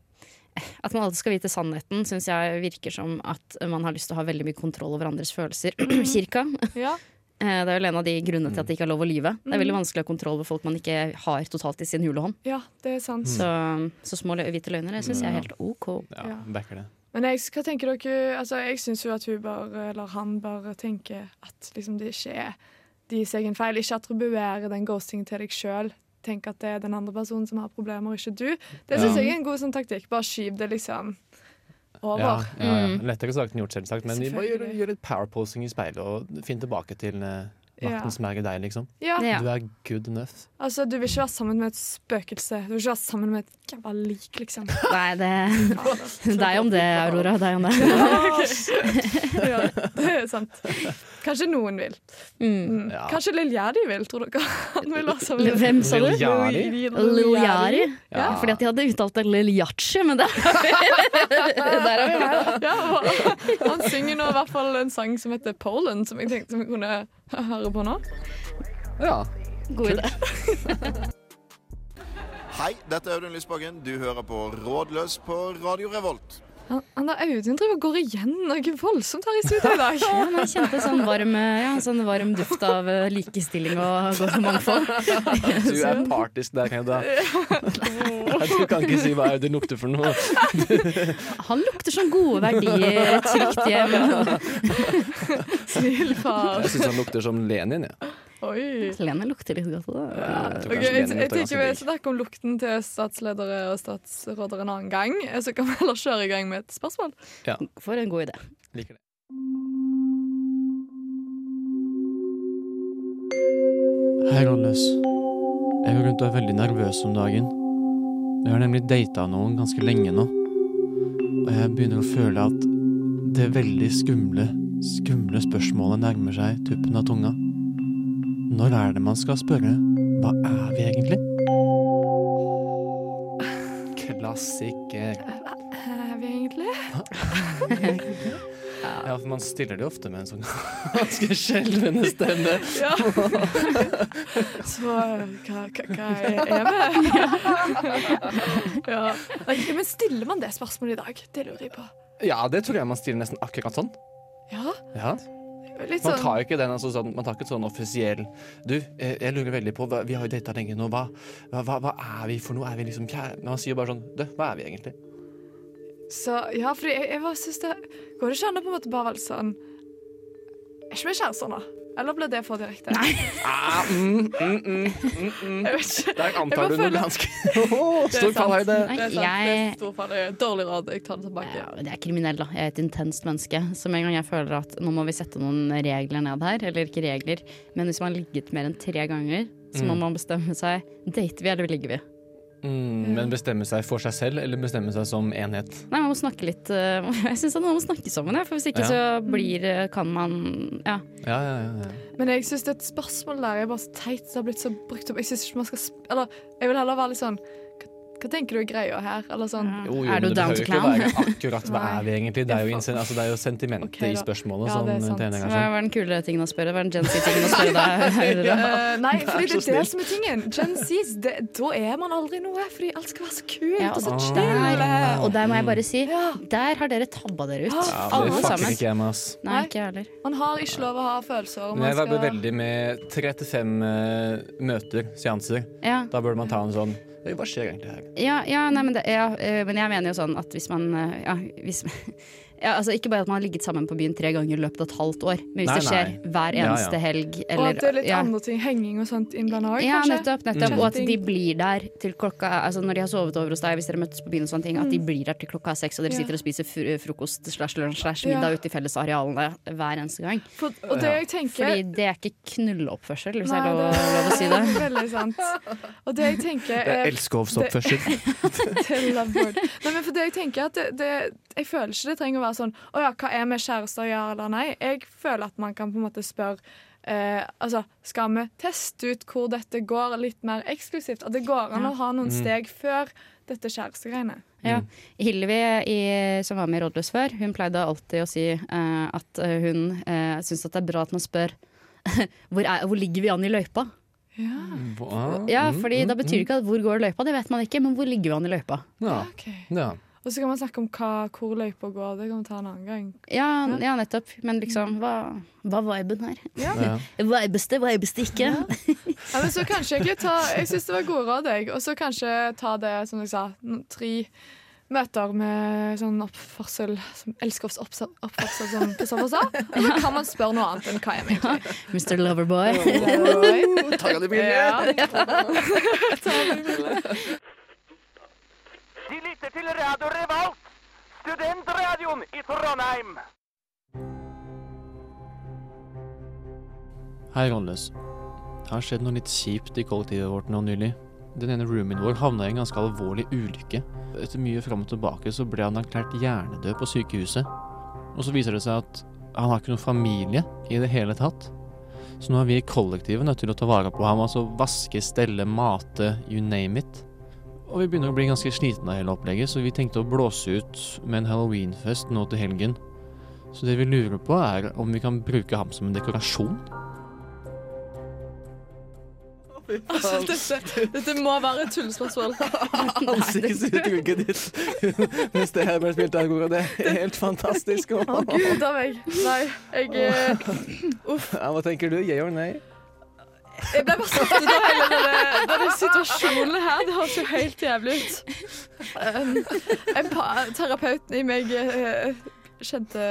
At man alltid skal vite sannheten, syns jeg virker som at man har lyst til å ha veldig mye kontroll over andres følelser. Kirka. Ja. Eh, Det er vel en av de grunnene til at det ikke er lov å lyve. Det er veldig vanskelig å ha kontroll over folk man ikke har totalt i sin hule hånd. Ja, det er sant. Så, så små lø- hvite løgner det syns jeg er helt OK. ja, Ja. Backer det. Men jeg, hva tenker dere, altså jeg syns jo at hun bare, eller han bare tenker at liksom det ikke er deres egen feil. Ikke attribuere den ghostingen til deg sjøl. Tenk at det er den andre personen som har problemer, ikke du. Det syns Ja. jeg er en god sånn taktikk. Bare skyv det liksom Ja, over. Mm. ja, ja. Lettere sagt enn gjort, selvsagt. Men bare gjør, Selvfølgelig. gjør litt powerposing i speilet, og finn tilbake til eh, Ja. makten som er i deg, liksom. Ja. Ja. Du er good enough. Altså, du vil ikke være sammen med et spøkelse. Du vil ikke være sammen med et jævla lik, liksom. Nei, det Deg om det, Aurora. Deg om det. ja, det er sant. Kanskje noen vil. Mm. Ja. Kanskje Lil Jerry vil, tror dere. Han vil være sammen med Hvem sa du? Lil Yari. Lil Yari? Ja. Ja. Fordi at de hadde uttalt det Lil Yachi, men det Der er vi her, da. Ja, og han synger nå i hvert fall en sang som heter Poland, som jeg tenkte vi kunne høre på nå. Ja. God idé. Hei, dette er Audun Lysbakken. Du hører på Rådløs på Radio Revolt. Han, han der Audun driver og går igjen noe voldsomt her i studio i dag. Ja, men jeg kjente sånn varm, ja, sånn varm duft av eh, likestilling og godt mangfold. Du er partisk der, kan jeg da. Nei, du kan ikke si hva er det du lukter for noe. Han lukter som gode verdier, et trygt hjem. Snill far. Jeg syns han lukter som Lenin, jeg. Oi. Lene lukter litt godt. Da. Ja. Ok, jeg, jeg tenker Vi snakker om lukten til statsledere og statsråder en annen gang. eh, Så kan vi heller kjøre i gang med et spørsmål. For en god idé. Liker det. Hei, Rådløs. Jeg går rundt og er veldig nervøs om dagen. Jeg har nemlig data noen ganske lenge nå. Og jeg begynner å føle at det veldig skumle, skumle spørsmålet nærmer seg tuppen av tunga. Når er det man skal spørre? Hva er vi egentlig? Klassiker. Er vi egentlig? Ja, for man stiller det jo ofte med en sånn ganske skjelvende stemme. Ja. Så hva, hva, hva er vi? Ja. Nei, Men stiller man det spørsmålet i dag? Det lurer jeg på. Ja, det tror jeg man stiller nesten akkurat sånn. Ja, Ja. litt Man sånn. tar jo ikke den altså, sånn, man tar ikke sånn offisiell Du, eh, jeg lurer veldig på hva, Vi har jo data lenge nå. Hva, hva, hva- hva er vi for noe? Er vi liksom kjære? Man sier bare sånn Du, hva er vi egentlig? Så ja, fordi jeg, jeg bare synes det Går det ikke an å på en måte bare være litt sånn Er ikke vi kjærester nå? Eller ble det for direkte? Ah, mm, mm, mm, mm, mm. Jeg vet ikke. Der Jeg bare antar du noe føler- ganske Åh, Det er Stor sant. fallhøyde. Det er sant. Det er Jeg- stor fallhøyde. Dårlig råd. Jeg tar det tilbake. Ja, men jeg er kriminell, da. Jeg er et intenst menneske. Så med en gang jeg føler at nå må vi sette noen regler ned her, eller ikke regler, men hvis man har ligget mer enn tre ganger, så må Mm. man bestemme seg dater vi eller ligger vi. Mm, men bestemme seg for seg selv, eller bestemme seg som enhet? Nei, man må snakke litt eh, Jeg syns man må snakke sammen, jeg, for hvis ikke Ja. så blir eh, kan man Ja. Ja, ja, ja, ja. Men jeg syns det er et spørsmål der jeg er bare så teit som har blitt så brukt opp. Jeg synes ikke man skal sp Eller jeg vil heller være litt sånn Hva, hva tenker du er greia her? Eller sånn Jo, jo, er men du det down behøver to jo ikke clown? være akkurat hva Nei. er vi egentlig. Det er jo, Ja, insen, altså, det er jo sentimentet Ok, i da. spørsmålet Ja, som det er til en sant. gang Hva er sånn. er den kule tingen å spørre? Hva er den Gen Z-tingen å spørre deg? Aurora? Eh, nei, fordi det så er det som er tingen. Gen Zs, det, da er man aldri noe. Fordi alt skal være så kult Ja, og så og chill. der, og der må jeg bare si Ja. Der har dere tabba dere ut. Ja, Ja, det Ah, Alle fucker sammen. ikke jeg med, ass. Nei, ikke jeg heller. Man har ikke lov å ha følelser. og Men Man jeg vibber skal... veldig med tre til fem eh, møter, seanser. Ja. Da burde man ta en sånn «Oi, Hva skjer egentlig her? Ja, ja, nei, men, det, ja eh, men jeg mener jo sånn at hvis man eh, ja, hvis, ja, altså Ikke bare at man har ligget sammen på byen tre ganger i løpet av et halvt år, men hvis Nei, det skjer nei. hver Ja, eneste ja. helg Og eller at det er litt ja. andre ting. Henging og sånt innblanda òg, Ja, kanskje. nettopp. nettopp. Mm. Og at de blir der til klokka altså Når de har sovet over hos deg, hvis dere møttes på byen, og sånne ting, at de blir der til klokka er seks, og dere Mm. Ja. sitter og spiser fr- frokost slash lunsj slash Ja. middag ute i fellesarealene hver eneste gang. For, og det jeg tenker Fordi det er ikke knulleoppførsel, hvis Nei, jeg lov, det- lov å si det. Veldig sant. Og det jeg tenker Det er er elskovsoppførsel. til loveboard. Nei, men for det Jeg tenker at det, det, jeg føler ikke det trenger å være sånn Å ja, hva er med kjærester å gjøre eller nei? Jeg føler at man kan på en måte spørre eh, Altså, skal vi teste ut hvor dette går, litt mer eksklusivt? At det går an å ha Mm. noen steg før dette kjærestegreiene. Ja. Hillevi, i, som var med i Rådløs før, hun pleide alltid å si eh, at eh, hun uh, syns at det er bra at man spør hvor, er, hvor ligger vi an i løypa? Ja, Hva? Ja, Mm, fordi mm, Da betyr det ikke at hvor går løypa, det vet man ikke, men hvor ligger vi an i løypa? mm. ja. ok. ja. Og så kan man snakke om hva, hvor løypa går. Det kan vi ta en annen gang. Ja, ja nettopp. Men liksom, hva, hva er viben her? Ja. ja. Vibes det, vibes det ikke? Ja, men så kanskje egentlig ta Jeg syns det var gode råd, jeg. Og så kanskje ta det, som jeg sa, n- tre møter med sånn oppførsel som Elskovs oppsa- oppførsel, som Kristoffer sa. Og så kan man spørre noe annet enn hva jeg mener. Mr. Loverboy. Oh, Å, tar jeg det bildet? Ja, det De lytter til Radio Revolt, studentradioen i Trondheim. Hei, Rånløs. Det har skjedd noe litt kjipt i kollektivet vårt nå nylig. Den ene roomien vår havna i en ganske alvorlig ulykke. Etter mye fram og tilbake så ble han erklært hjernedød på sykehuset. Og så viser det seg at han har ikke noen familie i det hele tatt. Så nå er vi i kollektivet nødt til å ta vare på ham. Altså vaske, stelle, mate, you name it. Og vi begynner å bli ganske slitne av hele opplegget, så vi tenkte å blåse ut med en halloweenfest nå til helgen. Så det vi lurer på, er om vi kan bruke ham som en dekorasjon. Altså, dette, dette må være et tullespørsmål. Ansiktsuttrykket ditt mens det her ble spilt av Gora, det er helt fantastisk. Å, gud av meg. Nei, jeg, eh, Ja, hva tenker du? Yeah or nay? jeg ble bare satt ut av hele denne, denne situasjonen her. Det høres jo helt jævlig ut. Um, empa- terapeuten i meg eh, kjente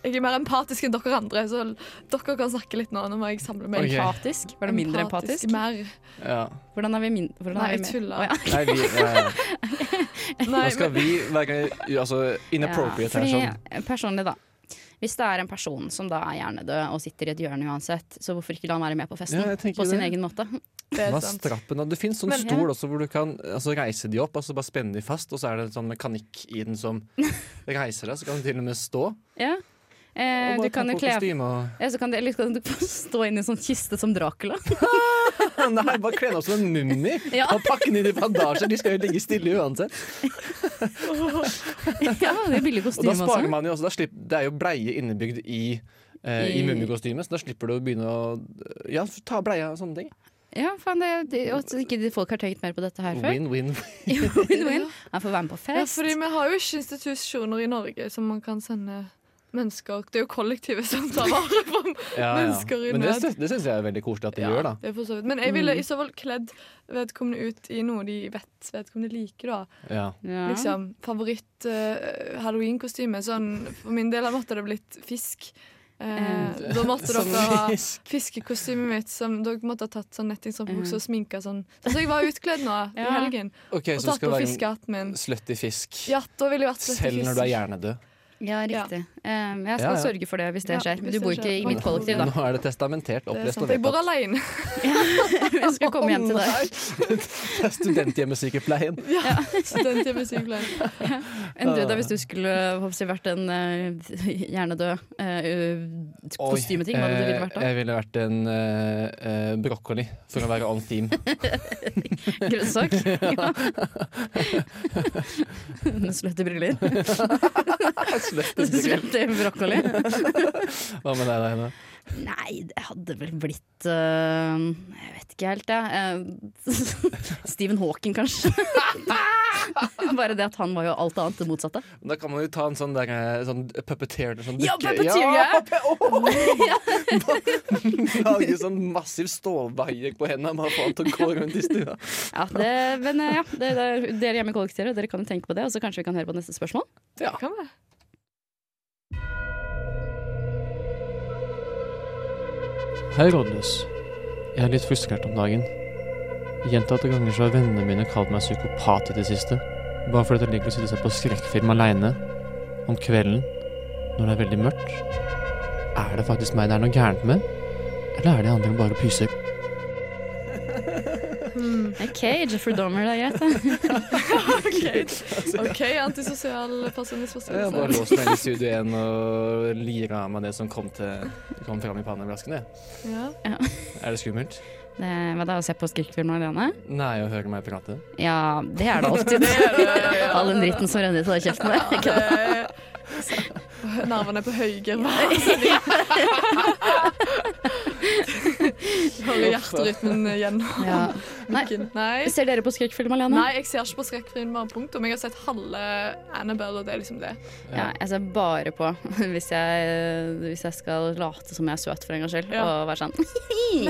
Jeg er mer empatisk enn dere andre, så dere kan snakke litt nå. Nå må jeg samle meg. Ok. Empatisk? Var det mindre empatisk? Mer. Ja. Hvordan er vi min... Hvordan Nei, er vi jeg med- tuller. Å, ja. Nei, vi, ja. Nei, Nå men, skal vi være altså, inappropriate her sånn. Fordi, eh, personlig, da. Hvis det er en person som da er hjernedød og sitter i et hjørne uansett, så hvorfor ikke la han være med på festen? Ja, jeg tenker på sin det. egen måte. det er Hva sant. strappen da? Det fins sånn Men- stol også hvor du kan altså, reise de opp, altså bare spenne de fast, og så er det en sånn mekanikk i den som reiser deg, så kan du til og med stå. Ja. Eh, Og du bare ta kan jo på kle kostyme og ja, så kan du, eller kan du stå inn i en sånn kiste som Dracula. Nei, bare kle deg opp som en mummi Ja. og pakke den inn i bandasjer. De skal jo ligge stille uansett. ja, det er billig Og da kostyme sparer sånn? også. man jo også, da slipp, Det er jo bleie innebygd i eh, i I- mummikostymet, så da slipper du å begynne å ja, ta bleia og sånne ting. Ja, faen, det, det, og at ikke de folk har tenkt mer på dette her før. Win, win. Win-win. Han får være med på Ja, fest. fordi vi har jo ikke institusjoner i Norge som man kan sende mennesker Det er jo kollektivet som tar vare på Ja, Mennesker i Men det, nød. sy- det syns jeg er veldig koselig at de gjør, da. det. Er for så vidt. Men jeg Mm. ville i så fall kledd vedkommende ut i noe de vet vedkommende liker, da. Ja. Ja. Liksom eh, favoritt-halloween-kostyme. sånn, for min del måtte det blitt fisk. Eh, da måtte Som dere ha fisk. fiskekostymet mitt. Som dere måtte ha tatt sånn netting sånn på buksa og sminka sånn. Sånn som jeg var utkledd nå i Ja. helgen. OK, Og så du tatt på skal være fiskehatten min. en slutty fisk. Ja, da ville jeg vært slett Selv når du er hjernedød. Ja, riktig. Um, jeg Ja, skal ja. sørge for det hvis det Ja, skjer. hvis Du det bor skjer. ikke i mitt kollektiv, da. Nå er det testamentert, Det er opplest sant. og Jeg bor vedtatt. aleine. Jeg skal komme hjem til deg. Det er studenthjemmesykepleien. Studenthjemmesykepleier. Enn du da, hvis du skulle håper jeg, vært en uh, hjernedød uh, Oi, kostymeting? Hva hadde du ville vært eh, da? Jeg ville vært en eh, eh, brokkoli, for å være on theme. eh, Grønnsak? Ja. Med Slette briller? Slette brokkoli? Hva med deg, da, Henne? Nei, det hadde vel blitt eh, Jeg vet ikke helt, jeg. Eh, Stephen Hawking, kanskje. Bare det at han var jo alt annet det motsatte. Da kan man jo ta en sånn, der, eh, sånn puppeteer sånn Ja, dukke- puppeteer, ja. pe- åh! Lage sånn massiv stålvaier på hendene bare få han til å gå rundt i stua. Ja, det, men eh, ja, det, det, dere hjemme i kollektivet, dere kan jo tenke på det, og så kanskje vi kan høre på neste spørsmål. Ja. Kan være. Hei, rådløs. Jeg er litt frustrert om dagen. Gjentatte ganger så har vennene mine kalt meg psykopat i det siste. Bare fordi jeg liker å sitte og se på skrekkfilm aleine. Om kvelden. Når det er veldig mørkt. Er det faktisk meg det er noe gærent med? Eller er de andre bare pyser? OK, Jeffrey Dahmer, det er greit, det. OK, antisosial Jeg har bare personlighetsforstyrrelse. låst meg inn i studio igjen og lira av meg det som kom, til, kom fram i pannebrasken. jeg. Ja. Er det skummelt? det Eh, hva da, å se på skrekkfilm alene? Nei, å høre meg prate. Ja, det er det alltid. All den dritten som renner ut av den kjeften der. Ja, det- Så- Eh, Nervene på høygir. Hører hjerterytmen gjennom Ja. Nei, nakken. Nei. ser dere på skrekkfilm alene? Nei, jeg ser ikke på skrekkfilmer. Punktum. Jeg har sett halve Annabelle, og det er liksom det. Ja, jeg ser bare på hvis jeg, hvis jeg skal late som jeg er søt for en gangs skyld, Ja. og være sånn Jeg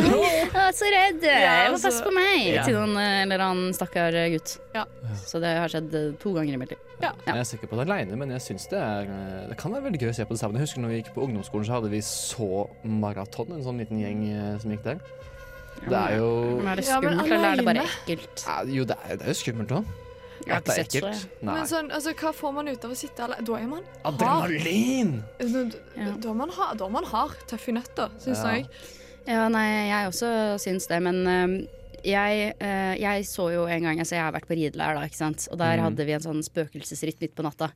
er så redd! jeg må altså- passe på meg! Ja. Til noen eh, eller annen stakkar eh, gutt. Ja. Så det har skjedd eh, to ganger i mitt liv. Ja. Jeg er sikker på det alene, men jeg synes det, er, eh, det kan være veldig gøy å se på det sammen. Jeg husker når vi gikk på ungdomsskolen, så hadde vi så maraton, en sånn liten gjeng eh, som gikk der. Det er jo Men er det Ja, men skummelt, eller er det bare alene? ekkelt? Ja, Jo, det er, det er jo skummelt òg. Jeg At det har ikke er sett så, ekkelt. Nei. Men sånn, altså, hva får man ut av å sitte alle Da er man hard. Adrenalin! Da- Da er man hard, da er man hard. tøff i nøtta, syns Ja. jeg. Ja, nei, jeg også syns det, men øhm, jeg, øh, jeg så jo en gang Altså, jeg har vært på ridelær, da, ikke sant. Og der Mhm. hadde vi en sånn spøkelsesritt midt på natta.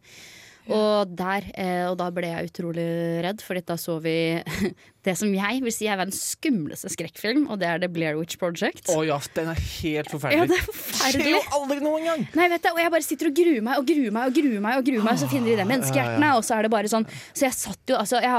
Og der, eh, og da ble jeg utrolig redd, Fordi da så vi det som jeg vil si er verdens skumleste skrekkfilm, og det er The Blair Witch Project. Å ja, den er helt ja, forferdelig. det er skjer forferdelig! jo aldri noe engang! Nei, vet du, og jeg bare sitter og gruer meg og gruer meg og gruer meg, og gruer meg, og så finner Ah, de det menneskehjertene, og så er det bare sånn Så jeg satt jo, altså jeg,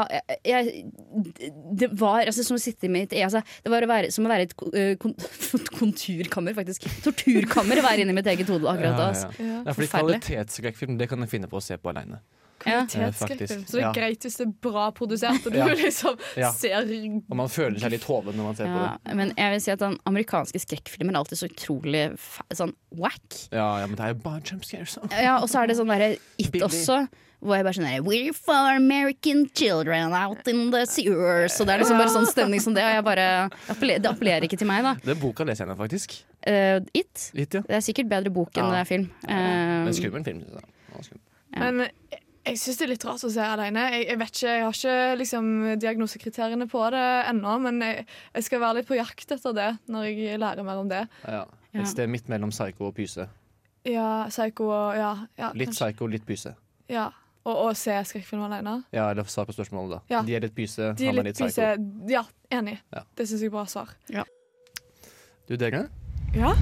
jeg, Det var altså, som å sitte i mitt altså, Det var å være, som å være i et ko- eh, kon, konturkammer, faktisk. Torturkammer å være inni mitt eget hode akkurat da. Altså. Ja, ja. Fordi Forferdelig. kvalitetsskrekkfilm, det kan jeg finne på å se på aleine. Ja. Kvalitetsskrekkfilm. faktisk. liksom. Så det er Ja. greit hvis det er bra produsert, og du Ja. liksom Ja. ser Og man føler seg litt hoven når man ser på Ja, det. men jeg vil si at den amerikanske skrekkfilmen er alltid så utrolig fa sånn whack. Ja, ja, men det er jo bare jump scares. da. Ja, og så er det sånn derre It Billig. også. Hvor jeg bare sånn der, We're for American children out in the sewers. Og det er liksom bare sånn stemning som det. Og jeg bare, appelle- det appellerer ikke til meg, da. Den boka leser jeg nå, faktisk. Eh, It. Litt, ja. Det er sikkert bedre bok enn Ja. det er film. Men Eh, skummel film, synes jeg. Ja, skummel. Ja. Men jeg- jeg syns det er litt rart å se alene. Jeg, jeg vet ikke, jeg har ikke liksom, diagnosekriteriene på det ennå, men jeg, jeg skal være litt på jakt etter det når jeg lærer mer om det. Ja. Ja. Et sted midt mellom psycho og pyse. Ja, psycho og ja. ja Litt kanskje. psycho, litt pyse. Ja. Og, og se skrekkfilmer alene. Ja, eller svar på spørsmålet, da. Ja. De er litt pyse, De han er er litt litt psycho. pisse... Ja, enig. Ja. Det syns jeg er bra svar. Du, dere? Ja.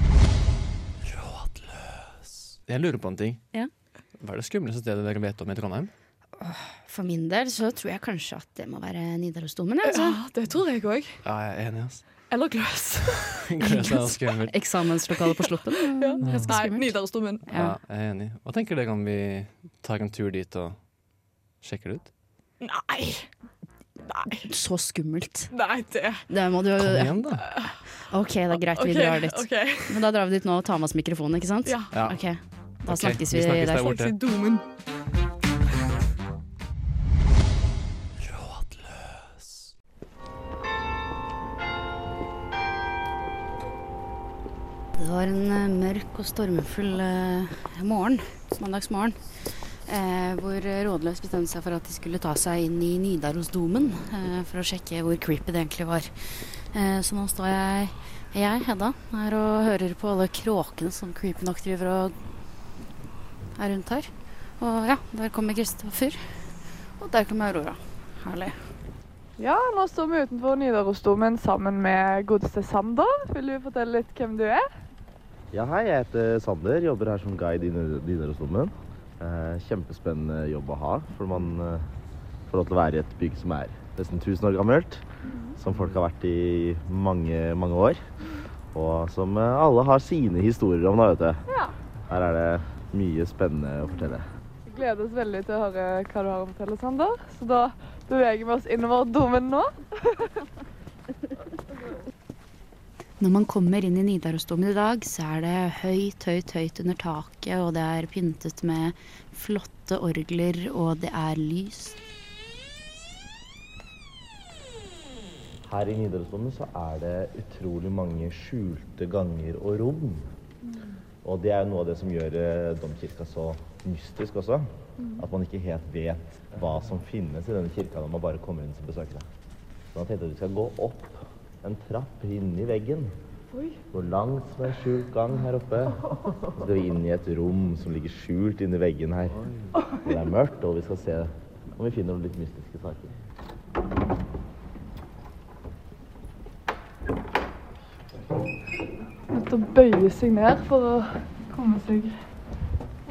Jeg lurer på en ting. Ja. Hva er det skumleste stedet dere vet om i Trondheim? for min del så tror jeg kanskje at det må være Nidarosdomen. ja, Altså. Ja, det tror jeg òg. Ja, jeg er enig, ass. Eller Gløs. Gløs er skummelt. Eksamenslokalet på Sluppen. Mm. Nei, Nidarosdomen. Ja, jeg er enig. Hva tenker dere om vi tar en tur dit og sjekker det ut? Nei. Nei. Så skummelt. Nei, det Det må du Kom igjen, da. OK, det er greit, vi OK. drar dit. ok. Men da drar vi dit nå og tar med oss mikrofonen, ikke sant? Ja. Ja. Ok, Da Ok, snakkes vi vi, snakkes der. der borte. Faktisk i domen. Det var en eh, mørk og stormfull eh, morgen, mandagsmorgen, eh, hvor Rådløs bestemte seg for at de skulle ta seg inn i Nidarosdomen eh, for å sjekke hvor creepy det egentlig var. Eh, så nå står jeg, jeg Hedda, her og hører på alle kråkene som creepy nok driver og er rundt her. Og ja, der kommer Kristoffer. Og der kommer Aurora. Herlig. Ja, nå står vi utenfor Nidarosdomen sammen med godeste Sander. Vil du fortelle litt hvem du er? Ja, hei, jeg heter Sander, jobber her som guide i Nid- Nidarosdomen. Eh, kjempespennende jobb å ha, for man eh, får lov til å være i et bygg som er nesten 1000 år gammelt, Mhm. som folk har vært i mange, mange år, og som eh, alle har sine historier om, da, vet du. Ja. Her er det mye spennende å fortelle. Vi gleder oss veldig til å høre hva du har å fortelle, Sander. Så da beveger vi oss innover domen nå. Når man kommer inn i Nidarosdomen i dag, så er det høyt, høyt, høyt under taket, og det er pyntet med flotte orgler, og det er lys. Her i Nidarosdomen så er det utrolig mange skjulte ganger og rom. Og det er jo noe av det som gjør eh, domkirka så mystisk også. At man ikke helt vet hva som finnes i denne kirka når man bare kommer inn som besøkende. Så da tenkte jeg at vi skal gå opp en trapp inn i veggen. Gå langt som en skjult gang her oppe. Så skal vi inn i et rom som ligger skjult inni veggen her. Og det er mørkt, og vi skal se om vi finner noen litt mystiske saker. Nødt til å bøye seg ned for å komme seg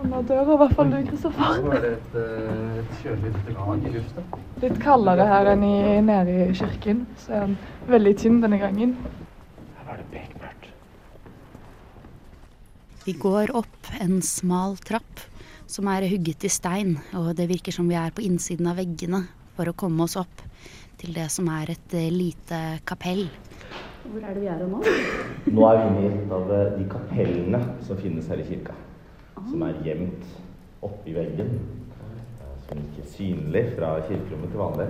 under døra, i hvert fall du, Kristoffer. var det et, eh, et kjølig lite lag i lufta. Litt kaldere her enn i, nede i kirken, så er den veldig tynn denne gangen. Her var det bekmørkt. Vi går opp en smal trapp som er hugget i stein, og det virker som vi er på innsiden av veggene for å komme oss opp til det som er et eh, lite kapell. Nå er vi inne i et av eh, de kapellene som finnes her i kirka. Som er gjemt oppi veggen. eh, Som ikke er synlig fra kirkerommet til vanlig.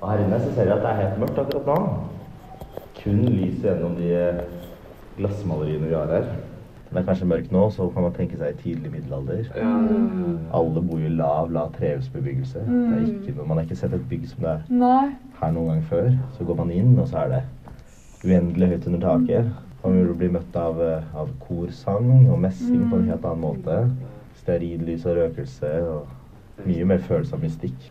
Og her inne så ser jeg at det er helt mørkt akkurat nå. Kun lys gjennom de eh, glassmaleriene vi har her. Det er kanskje mørkt nå, så kan man tenke seg tidlig middelalder. Alle bor i lav, lav trehusbebyggelse. Det er ikke, man har ikke sett et bygg som det er Nei. her noen gang før. Så går man inn, og så er det uendelig høyt under taket. Man vil bli møtt av, eh, av korsang og messing på en helt annen måte. Stearinlys og røkelse og mye mer følelse av mystikk.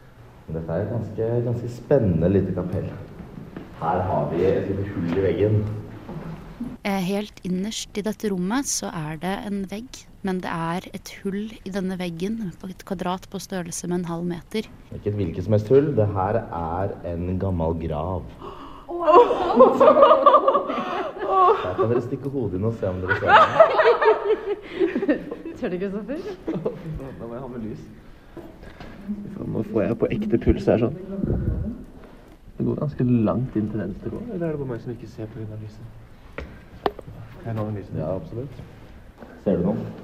Men dette er et ganske, ganske spennende lite kapell. Her har vi et lite hull i veggen. Eh, Helt innerst i dette rommet så er det en vegg, men det er et hull i denne veggen, på et kvadrat på størrelse med en halv meter. Ikke et hvilket som helst hull. Det her er en gammel grav. Der kan dere stikke hodet inn og se om dere ser det. Tør du, Kristoffer? Da må jeg ha med lys. Faen, Nå får jeg på ekte puls her sånn. Det går ganske langt inn til venstre òg, eller er det bare meg som ikke ser pga. lyset? Jeg la med lyset. Ja, absolutt. Ser du noe?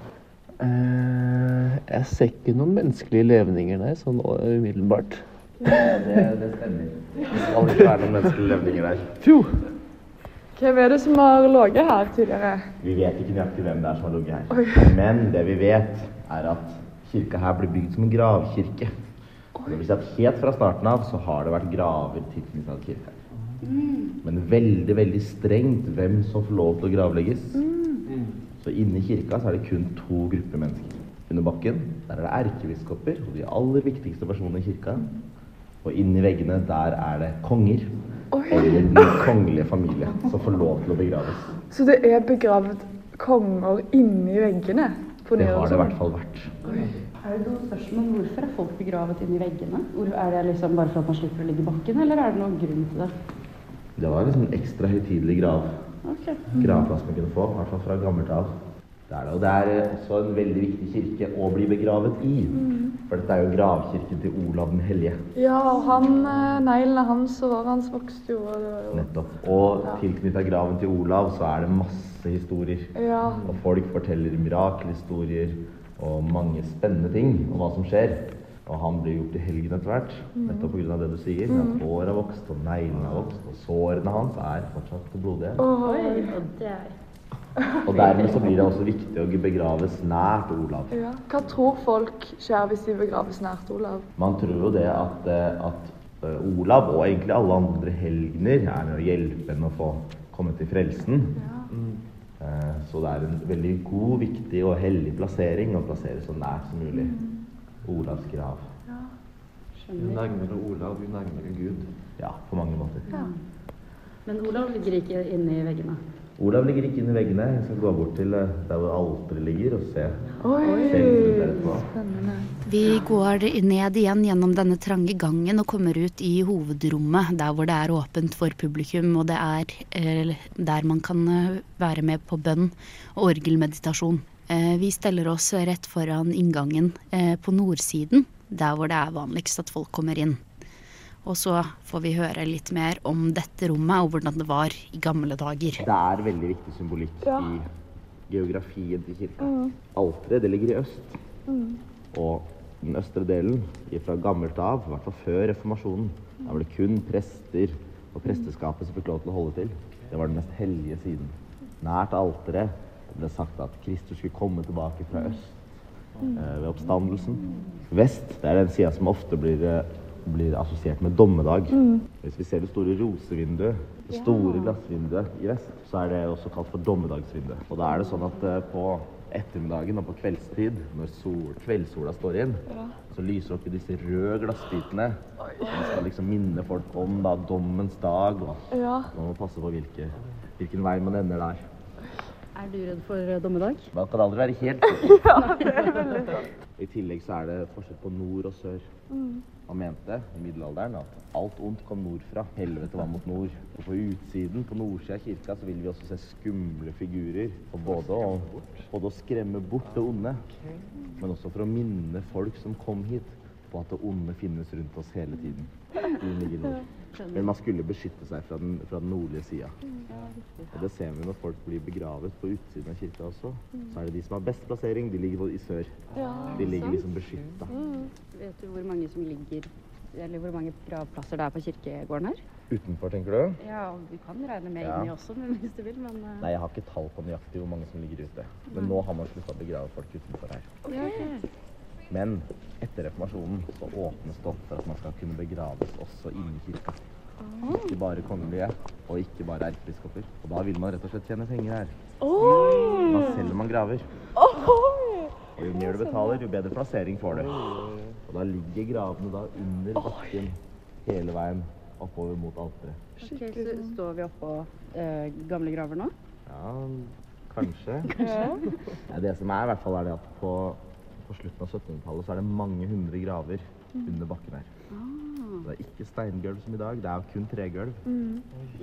jeg ser ikke noen menneskelige levninger, nei, sånn umiddelbart. det, det stemmer. Det skal ikke være noen menneskelige levninger der. Hvem er det som har ligget her tidligere? Vi vet ikke nøyaktig hvem det er som har ligget her. Men det vi vet, er at kirka her ble bygd som en gravkirke. Det vil si at helt fra starten av så har det vært graver tilknyttet kirka. Men veldig, veldig strengt hvem som får lov til å gravlegges. Så inne i kirka så er det kun to grupper mennesker. Under bakken der er det erkebiskoper og de aller viktigste personene i kirka. Og inni veggene der er det konger. Eller den kongelige familie som får lov til å begraves. Så det er begravd konger inni veggene? på Det har det i Nidarosdomen? hvert fall vært. Er det noe spørsmål om hvorfor er folk begravet inni veggene? Hvor, er det liksom bare for at man slipper å ligge i bakken, eller er det noen grunn til det? Det var liksom en ekstra høytidelig grav. Gravplass man kunne få, i hvert fall fra gammelt av. Det er det, og det er eh, også en veldig viktig kirke å bli begravet i. For dette er jo gravkirken til Olav den hellige. Ja, og han, eh, neglene hans og håret hans vokste jo. Og det var jo Nettopp. Og tilknyttet graven til Olav så er det masse historier. ja. Og folk forteller mirakelhistorier og mange spennende ting om hva som skjer. Og han blir gjort til helgen etter hvert, nettopp pga. det du sier. At håret har vokst, og neglene har vokst, og sårene hans er fortsatt blodige. Oi. Og dermed så blir det også viktig å begraves nært Olav. Ja. Hva tror folk skjer hvis de begraves nært Olav? Man tror jo det at, eh, at eh, Olav og egentlig alle andre helgener er med å hjelpe henne å få komme til frelsen. Eh, Så det er en veldig god, viktig og hellig plassering å plassere så nært som mulig Olavs grav. Jo nærmere Olav, jo nærmere Gud. Ja, på mange måter. Men Olav ligger ikke inne i veggene. Olav ligger ikke inni veggene. Jeg skal gå bort til eh, der hvor alteret ligger, og se. Oi, se litt der etterpå. Vi går ned igjen gjennom denne trange gangen og kommer ut i hovedrommet, der hvor det er åpent for publikum, og det er eh, der man kan eh, være med på bønn og orgelmeditasjon. Eh, Vi steller oss rett foran inngangen eh, på nordsiden, der hvor det er vanligst at folk kommer inn. Og så får vi høre litt mer om dette rommet og hvordan det var i gamle dager. Det er veldig viktig symbolikk Ja. i geografien til kirka. Alteret det ligger i øst. Og den østre delen i- fra gammelt av, i hvert fall før reformasjonen, da var det kun prester og presteskapet som fikk lov til å holde til. Det var den mest hellige siden. Nært alteret det ble sagt at Kristus skulle komme tilbake fra øst eh, ved oppstandelsen. Vest det er den sida som ofte blir, eh, blir assosiert med dommedag. Hvis vi ser det store rosevinduet, det store glassvinduet i vest, så er det også kalt for dommedagsvinduet. Og da er det sånn at eh, på ettermiddagen og på kveldstid, når sol, kveldssola står igjen, så lyser det opp i disse røde glassbitene. Den skal liksom minne folk om da, dommens dag, og Ja. man må passe på hvilke, hvilken vei man ender der. Er du redd for eh, dommedag? Man kan aldri være helt sikker. I tillegg så er det forskjell på nord og sør. Man mente i middelalderen at alt ondt kom nordfra. Helvete var mot nord. Og på utsiden, på nordsida av kirka, så vil vi også se skumle figurer. For både å, både å skremme bort det onde, men også for å minne folk som kom hit, på at det onde finnes rundt oss hele tiden. Siden ligger nord. Men man skulle beskytte seg fra den, fra den nordlige sida. Og det ser vi når folk blir begravet på utsiden av kirka også. Så er det de som har best plassering, de ligger i sør. De ligger liksom beskytta. Vet du hvor mange som ligger eller hvor mange gravplasser det er på kirkegården her? Utenfor, tenker du? Ja, Vi kan regne med Ja. inni også, men hvis du vil. Men eh, Nei, jeg har ikke tall på nøyaktig hvor mange som ligger ute. Men nå har man slutta å begrave folk utenfor her. Men etter reformasjonen så åpnes det opp for at man skal kunne begraves også inni kirka. Ikke bare kongelige, og ikke bare erkebiskoper. Og da vil man rett og slett tjene penger her. Da selger man graver. Og jo mer du betaler, jo bedre plassering får du. Og da ligger gravene da under bakken hele veien oppover mot alteret. ok, så står vi oppå eh, gamle graver nå. Ja, kanskje. Ja, det som er i hvert fall er det at på, på slutten av 1700-tallet så er det mange hundre graver under bakken her. Det er ikke steingulv som i dag, det er kun tregulv.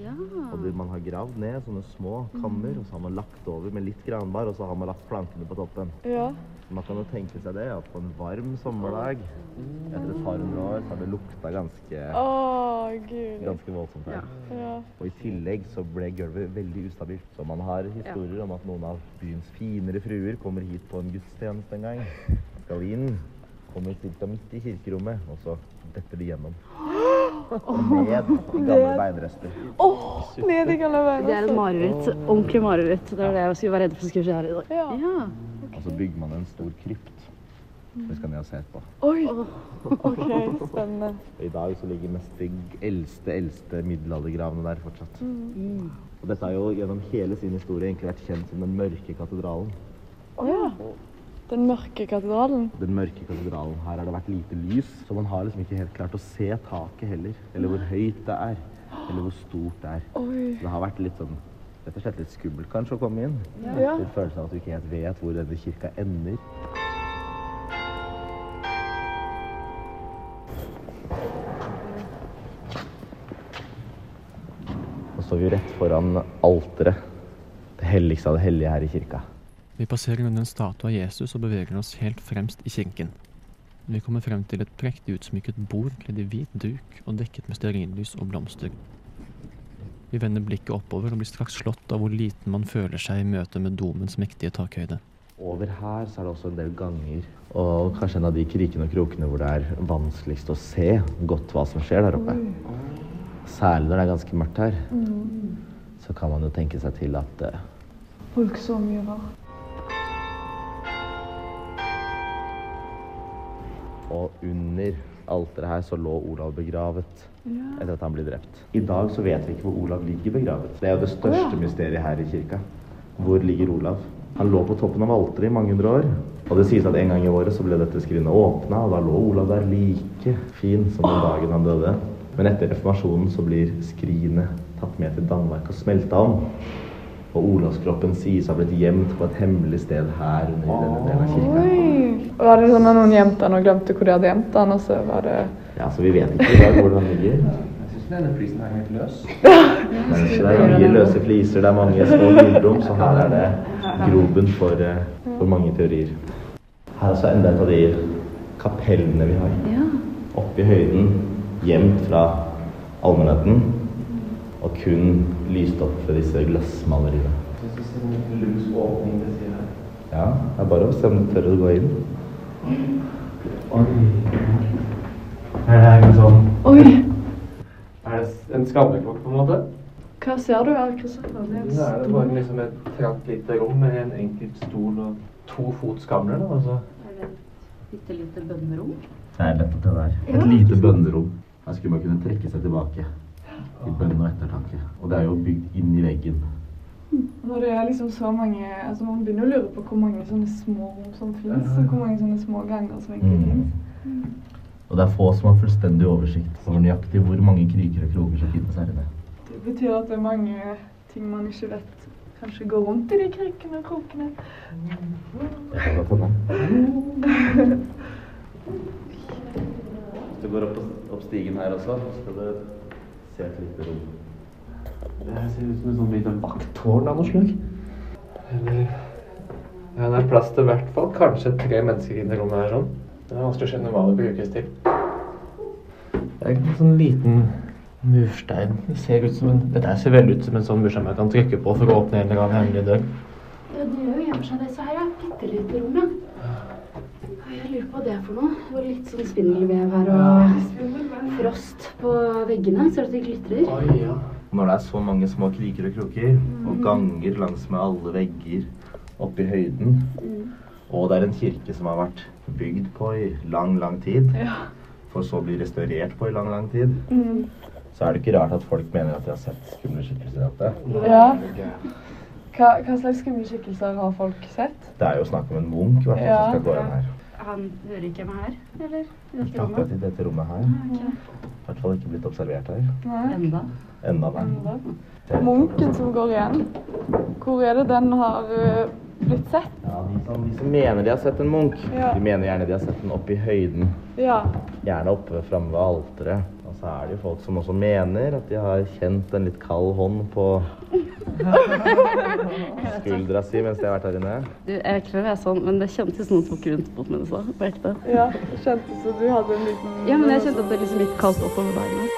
Ja. Og det, man har gravd ned sånne små kammer, og så har man lagt over med litt granbar, og så har man lagt plankene på toppen. ja. Man kan jo tenke seg det, at på en varm sommerdag, etter et par hundre år, så har det lukta ganske, Å, gud. ganske voldsomt her. Ja. Og i tillegg så ble gulvet veldig ustabilt. Så man har historier om at noen av byens finere fruer kommer hit på en gudstjeneste en gang. Skal inn, kommer ca. midt i kirkerommet, og så detter de gjennom. Og ned i gamle beinrester. Ned i gamle Det veier. er en mareritt. Ordentlig mareritt. Det var det jeg skulle være redd for skulle skje her i dag. Ja. Ja. Og så bygger man en stor krypt. Det skal ned og se etterpå. Oi. OK, spennende. Og I dag så ligger mest de eldste, eldste middelaldergravene der fortsatt. Mm. Og dette har jo gjennom hele sin historie egentlig vært kjent som den mørke katedralen. Å ja. Den mørke katedralen. den mørke katedralen. Her har det vært lite lys, så man har liksom ikke helt klart å se taket heller. Eller hvor høyt det er, eller hvor stort det er. Oi. Så det har vært litt sånn rett og slett litt skummelt kanskje å komme inn. Ja. Litt følelsen av at du ikke helt vet hvor denne kirka ender. Nå står vi jo rett foran alteret. Det helligste av det hellige her i kirka. Vi passerer under en statue av Jesus og beveger oss helt fremst i kirken. Vi kommer frem til et prektig utsmykket bord kledd i hvit duk og dekket med stearinlys og blomster. Vi vender blikket oppover og blir straks slått av hvor liten man føler seg i møte med domens mektige takhøyde. Over her så er det også en del ganger. Og kanskje en av de krikene og krokene hvor det er vanskeligst å se godt hva som skjer der oppe. Særlig når det er ganske mørkt her. Så kan man jo tenke seg til at eh, Folk så mye rart. Og under alteret her så lå Olav begravet Ja. etter at han ble drept. I dag så vet vi ikke hvor Olav ligger begravet. Det er jo det Å, største ja. mysteriet her i kirka. Hvor ligger Olav? Han lå på toppen av alteret i mange hundre år. Og det sies at en gang i året så ble dette skrinet åpna, og da lå Olav der like fin som den dagen han døde. Men etter reformasjonen så blir skrinet tatt med til Danmark og smelta om. Og Olavskroppen sies å ha blitt gjemt på et hemmelig sted her under i denne delen av kirka. Oi! Var det sånn at noen gjemte han og glemte hvor de hadde gjemt han, og så var det Ja, så vi vet ikke i dag hvor han ligger. Jeg syns denne prisen er helt løs. Det er mye løse fliser, det er mange små gullrom, så her er det grobunn for, eh, for mange teorier. Her er også enda et av de kapellene vi har. Oppe i høyden, gjemt fra allmennheten, og kun lyst opp for disse glassmaleriene. Jeg synes det er en lus åpning til siden her. Ja, det er bare å se om du tør å gå inn. Oi. Er det en sånn Oi! Er det en skammeklokk, på en måte? Hva ser du her, Kristoffer? Det Så er det bare liksom et trangt lite rom med en enkelt stol og to fotskavler, da. Altså. Bitte lite bønnerom. Det er nettopp det der. Ja. Et lite bønnerom. Her skulle man kunne trekke seg tilbake i bønn og ettertanke. Og det er jo bygd inn i veggen. Når det er liksom så mange altså Man begynner å lure på hvor mange sånne små rom som fins, og hvor mange sånne små ganger som egentlig fins. Mm. Og det er få som har fullstendig oversikt over nøyaktig hvor mange kriker og kroker som finnes her inne. Det betyr at det er mange ting man ikke vet kanskje går rundt i de krikene og krokene. Det kan godt hende. Hvis du går opp, opp stigen her også, så skal du se et lite rom. Det her ser ut som en sånn liten vakttårn av noe slag. Eller Ja, det er plass til i hvert fall kanskje tre mennesker inne i rommet her sånn. Det er vanskelig å skjønne hva det brukes til. Det er en sånn liten murstein. Det ser ut som en Dette her ser veldig ut som en sånn murstein man kan trykke på for å åpne en eller annen hemmelig dør. Ja, det gjør jo gjemmer seg det. Så her er bitte lite rom, ja. Oi, Jeg lurer på hva det er for noe. Det var litt sånn spindelvev her og frost på veggene. Ser du at det glitrer? Når det er så mange små kriker og kroker, og ganger langs med alle vegger oppe i høyden, og det er en kirke som har vært bygd på i lang, lang tid, for så å bli restaurert på i lang, lang tid, så er det ikke rart at folk mener at de har sett skumle skikkelser i dette. Ja. Hva, hva slags skumle skikkelser har folk sett? Det er jo snakk om en munk, i hvert fall, som skal gå inn her. Han hører ikke meg her, eller? I Ikke dette akkurat rommet? i dette rommet her. I hvert fall ikke blitt observert her. Enda. Enda, nei. Munken som går igjen, hvor er det den har eh, blitt sett? Ja, de som, de som mener de har sett en munk, Ja. de mener gjerne de har sett den oppe i høyden. Ja. Gjerne oppe framme ved alteret. Og så er det jo folk som også mener at de har kjent en litt kald hånd på skuldra si mens de har vært her inne. Du, jeg vet ikke om jeg er sånn, men det kjentes som noen tok rundt mot meg i stad, på altså. ekte. Ja, det kjentes som du hadde en liten Ja, men jeg kjente at det liksom gikk kaldt oppover dagen.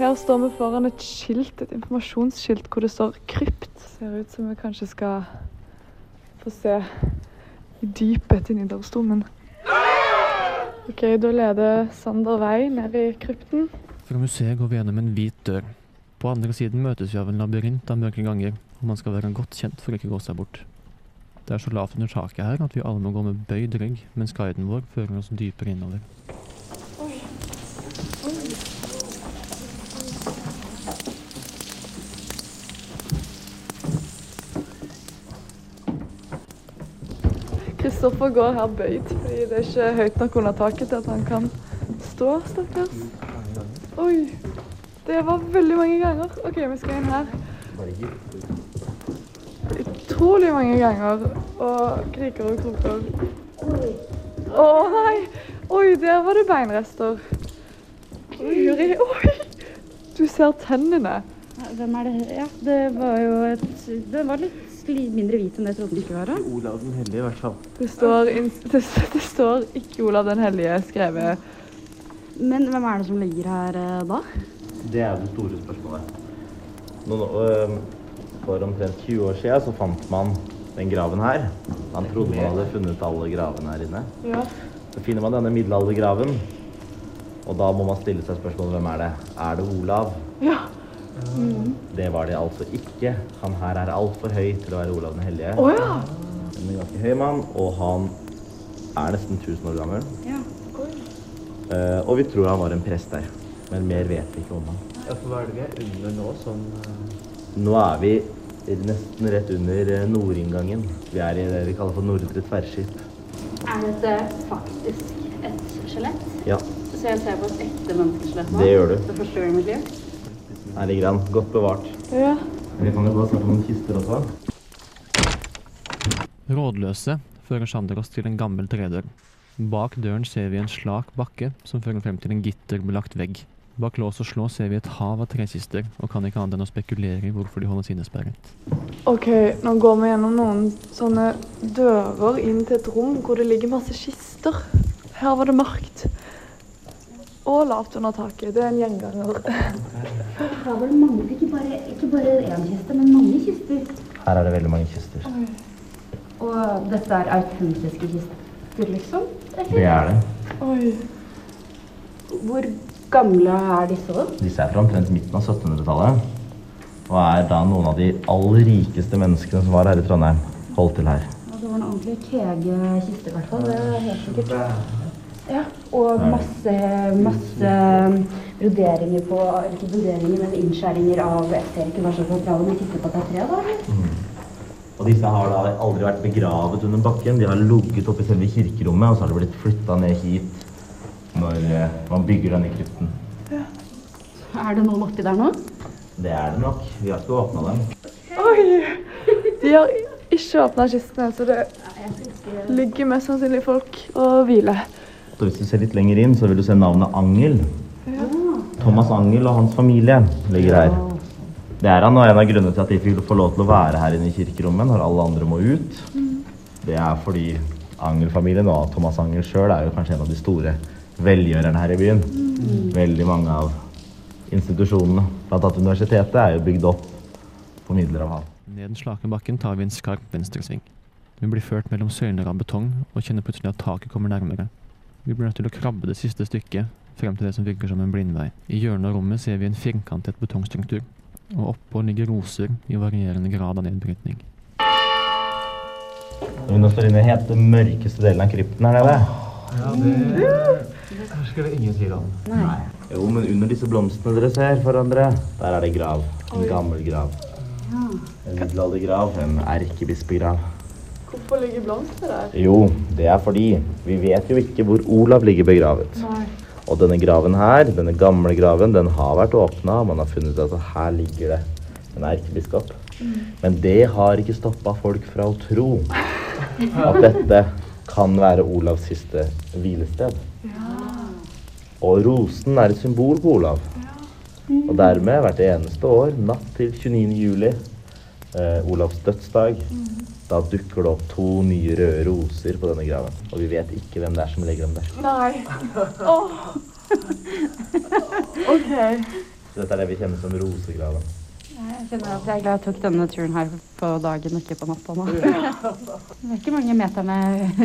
Her står vi foran et skilt, et informasjonsskilt hvor det står 'krypt'. Ser ut som vi kanskje skal få se i dypet i Nidarosdomen. OK, da leder Sander vei ned i krypten. Fra museet går vi gjennom en hvit dør. På andre siden møtes vi av en labyrint av mørke ganger, og man skal være godt kjent for å ikke gå seg bort. Det er så lavt under taket her at vi alle må gå med bøyd rygg, mens guiden vår fører oss dypere innover. Kristoffer går her bøyd, fordi det er ikke høyt nok under taket til at han kan stå, stakkars. Oi. Det var veldig mange ganger. OK, vi skal inn her. Utrolig mange ganger. Og kriker og kroker. Å nei! Oi, der var det beinrester. Oi, Juri. Oi! Du ser tennene. Hvem er det her? Ja, det var jo et Det var litt li- mindre hvit enn jeg trodde den skulle være. Olav den hellige, i hvert fall. Det står, ins- det, det står ikke Olav den hellige skrevet. Men hvem er det som ligger her eh, da? Det er det store spørsmålet. Noen, øhm, for omtrent 20 år siden så fant man den graven her. Man trodde man hadde funnet alle gravene her inne. Ja. Så finner man denne middelaldergraven, og da må man stille seg spørsmålet hvem er det? Er det Olav? Ja. Mm. Det var det altså ikke. Han her er altfor høy til å være Olav den hellige. Å ja. En ganske høy mann, og han er nesten 1000 år gammel. ja. Eh, og vi tror han var en prest der, men mer vet vi ikke om han. Ja, for hva er det vi er under nå, sånn Nå er vi nesten rett under eh, nordinngangen. Vi er i det vi kaller for nordre tverrskip. Er dette faktisk et skjelett? Ja, Så jeg ser på et ekte menneskeskjelett Det gjør du. For første gang i mitt liv. herlig grann. Godt bevart. Ja. Vi kan jo gå og se på noen kister også. Rådløse fører Sander oss til en gammel tredør. Bak døren ser vi en slak bakke som fører frem til en gitterbelagt vegg. Bak lås og slå ser vi et hav av trekister, og kan ikke annet enn å spekulere i hvorfor de holdes innesperret. OK, nå går vi gjennom noen sånne dører inn til et rom hvor det ligger masse kister. Her var det mørkt. Og lavt under taket. Det er en gjenganger. Her var det mange, ikke bare, ikke bare én kiste, men mange kister. Her er det veldig mange kister. Og dette er autentiske kister, liksom? eller? Det er det. Oi. Hvor gamle er disse? da? Disse er fra omtrent midten av 1700-tallet. Og er da noen av de aller rikeste menneskene som var her i Trondheim, holdt til her. Ja, Det var en ordentlig kegekiste, i hvert fall. Det er helt sikkert. Ja, Det og er det. masse, masse broderinger på eller Ikke broderinger, men innskjæringer av Jeg ser ikke hva slags materiale, men jeg titter på at det er tre, da. Og disse har da aldri vært begravet under bakken. De har ligget oppe i selve kirkerommet, og så har de blitt flytta ned hit når eh, man bygger denne krypten. Er det noen oppi der nå? Det er det nok. Vi har ikke åpna dem. Oi! De har ikke åpna kistene, så det ligger mest sannsynlig folk og hviler. Så hvis du ser litt lenger inn, så vil du se navnet Angel. Thomas Angel og hans familie ligger her. Det er han, og en av grunnene til at de fikk få lov til å være her inne i kirkerommet når alle andre må ut. Det er fordi Angel-familien og Thomas Angel sjøl er jo kanskje en av de store velgjørerne her i byen. Mm. Veldig mange av institusjonene, bl.a. universitetet, er jo bygd opp på midler av han. Ned den slake bakken tar vi en skarp venstresving. Vi blir ført mellom søyler av betong, og kjenner plutselig at taket kommer nærmere. Vi blir nødt til å krabbe det siste stykket, frem til det som virker som en blindvei. I hjørnet av rommet ser vi en firkantet betongstruktur, og oppå ligger roser i varierende grad av nedbrytning. Når vi nå står inne i den helt mørkeste delen av krypten her nede Ja, det hersker det ingen tvil om. Nei. Jo, men under disse blomstene dere ser foran dere, der er det grav. En Oi. gammel grav. En middelaldergrav. En erkebispekrav. Hvorfor ligger blomster der? Jo, det er fordi vi vet jo ikke hvor Olav ligger begravet. Nei. Og denne graven her, denne gamle graven, den har vært åpna. Man har funnet at her ligger det en erkebiskop. Mm. Men det har ikke stoppa folk fra å tro at dette kan være Olavs siste hvilested. Og rosen er et symbol på Olav. Og dermed, hvert eneste år, natt til 29. juli, eh, Olavs dødsdag, Mm. da dukker det opp to nye røde roser på denne graven. Og vi vet ikke hvem det er som legger dem der. Nei. Åh. OK. Så dette er det vi kjenner som rosegraven. Jeg kjenner at jeg er glad jeg tok denne turen her på dagen og ikke på natta nå. Det er ikke mange meterne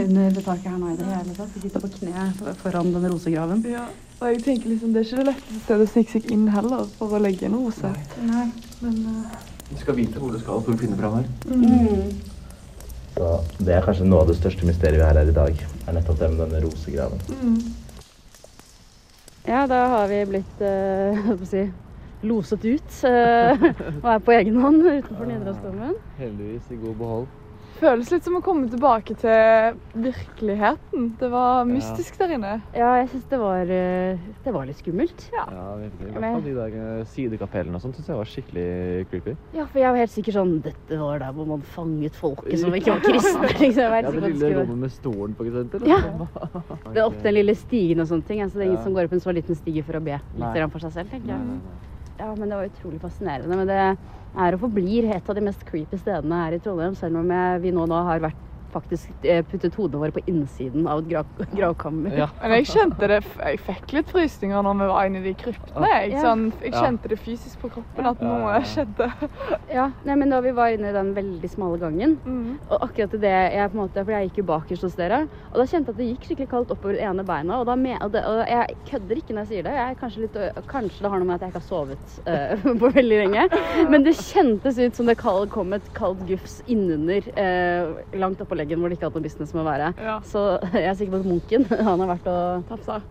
under det taket her nå i det hele tatt. Vi sitter på kne foran den rosegraven. Ja. Og jeg tenker liksom, Det er ikke det letteste stedet å snike seg inn heller for å legge en rose. Nei. Men eh, Du skal vite hvor du skal for å finne fram her. Så det er kanskje noe av det største mysteriet vi har her i dag, er nettopp det med denne rosegraven. Ja, da har vi blitt eh, hva skal jeg si, loset ut eh, og er på egen hånd utenfor Nidarosdomen. Heldigvis i god behold. føles litt som å komme tilbake til virkeligheten. Det var mystisk der inne. Ja, jeg syns det, var, eh, det var litt skummelt. Ja. Ja, virkelig. I hvert fall de der eh, sidekapellene og sånt syns jeg var skikkelig creepy. Ja, for jeg var helt sikker sånn Dette var der hvor man fanget folket som ikke var kristne. Liksom. Jeg var helt sikker på at det skulle være- med stolen, for eksempel. Ja. Det er opp den lille stigen og sånne ting. Altså, det er ingen Ja. som går opp en så liten stige for å be litt Nei. grann for seg selv, tenker jeg. Nei, nei, Ja, men det var utrolig fascinerende. Men det er og forblir et av de mest creepy stedene her i Trondheim, selv om jeg, vi nå, da har vært faktisk eh, puttet hodene våre på innsiden av et grav gravkammer. Men jeg kjente det, f- jeg fikk litt frysninger når vi var inne i de kryptene. Jeg, Ja. sånn, jeg Ja. kjente det fysisk på kroppen at Ja, ja, noe ja. skjedde. Ja, nei, men da vi var inne i den veldig smale gangen, Mm. og akkurat i det jeg på en måte, for jeg gikk jo bakerst hos dere, og da kjente jeg at det gikk skikkelig kaldt oppover det ene beina, og, da me- og, det, og jeg kødder ikke når jeg sier det, jeg er kanskje litt, ø- kanskje det har noe med at jeg ikke har sovet eh, på veldig lenge, men det kjentes ut som det kal- kom et kaldt gufs innunder, eh, langt oppå leggen hvor det ikke hadde noe business med å være. Så jeg er sikker på at munken, han har vært og...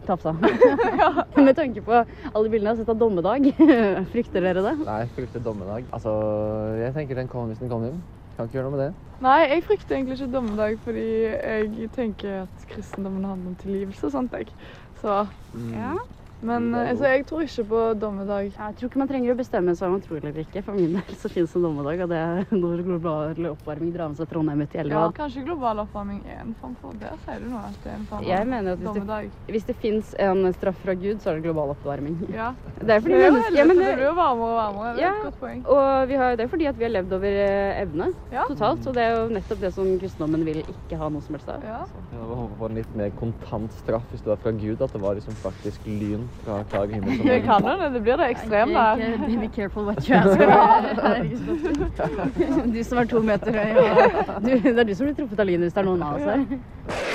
Tapsa. med tanke på alle bildene jeg har sett av dommedag, frykter dere det? Nei, frykter dommedag. Altså, jeg tenker den kommer hvis den kommer. Kan ikke gjøre noe med det. Nei, jeg frykter egentlig ikke dommedag, fordi jeg tenker at kristendommen handler om tilgivelse og sånt. Jeg. Så Mm. ja. Men Det er eh, jo- så jeg tror ikke på dommedag. Jeg tror ikke man trenger å bestemme seg om man tror eller ikke. For min del så finnes det dommedag, og det er når global oppvarming drar med seg Trondheim ut i elva. Ja, kanskje global oppvarming er en form for det, sier du nå? At det er en form Jeg for mener at hvis det, dommedag. hvis det fins en straff fra Gud, så er det global oppvarming. Ja. Det er fordi jo mennesker ja, men helvete, det blir det, jo varmere og varmere. Det er ja, Altså, et godt poeng. og vi har, det er fordi at vi har levd over eh, evne totalt. Og det er jo nettopp det som kristendommen vil ikke ha noe som helst av. Jeg hadde håpet på en litt mer kontant straff hvis det var fra Gud. At det var liksom faktisk lyn fra klar himmel. som- Det kan jo det. Det blir det ekstreme. Ikke- Be careful what you ask for. Du som er to meter høy. og Du, det er du som blir truffet av lynet hvis det er noen av oss her.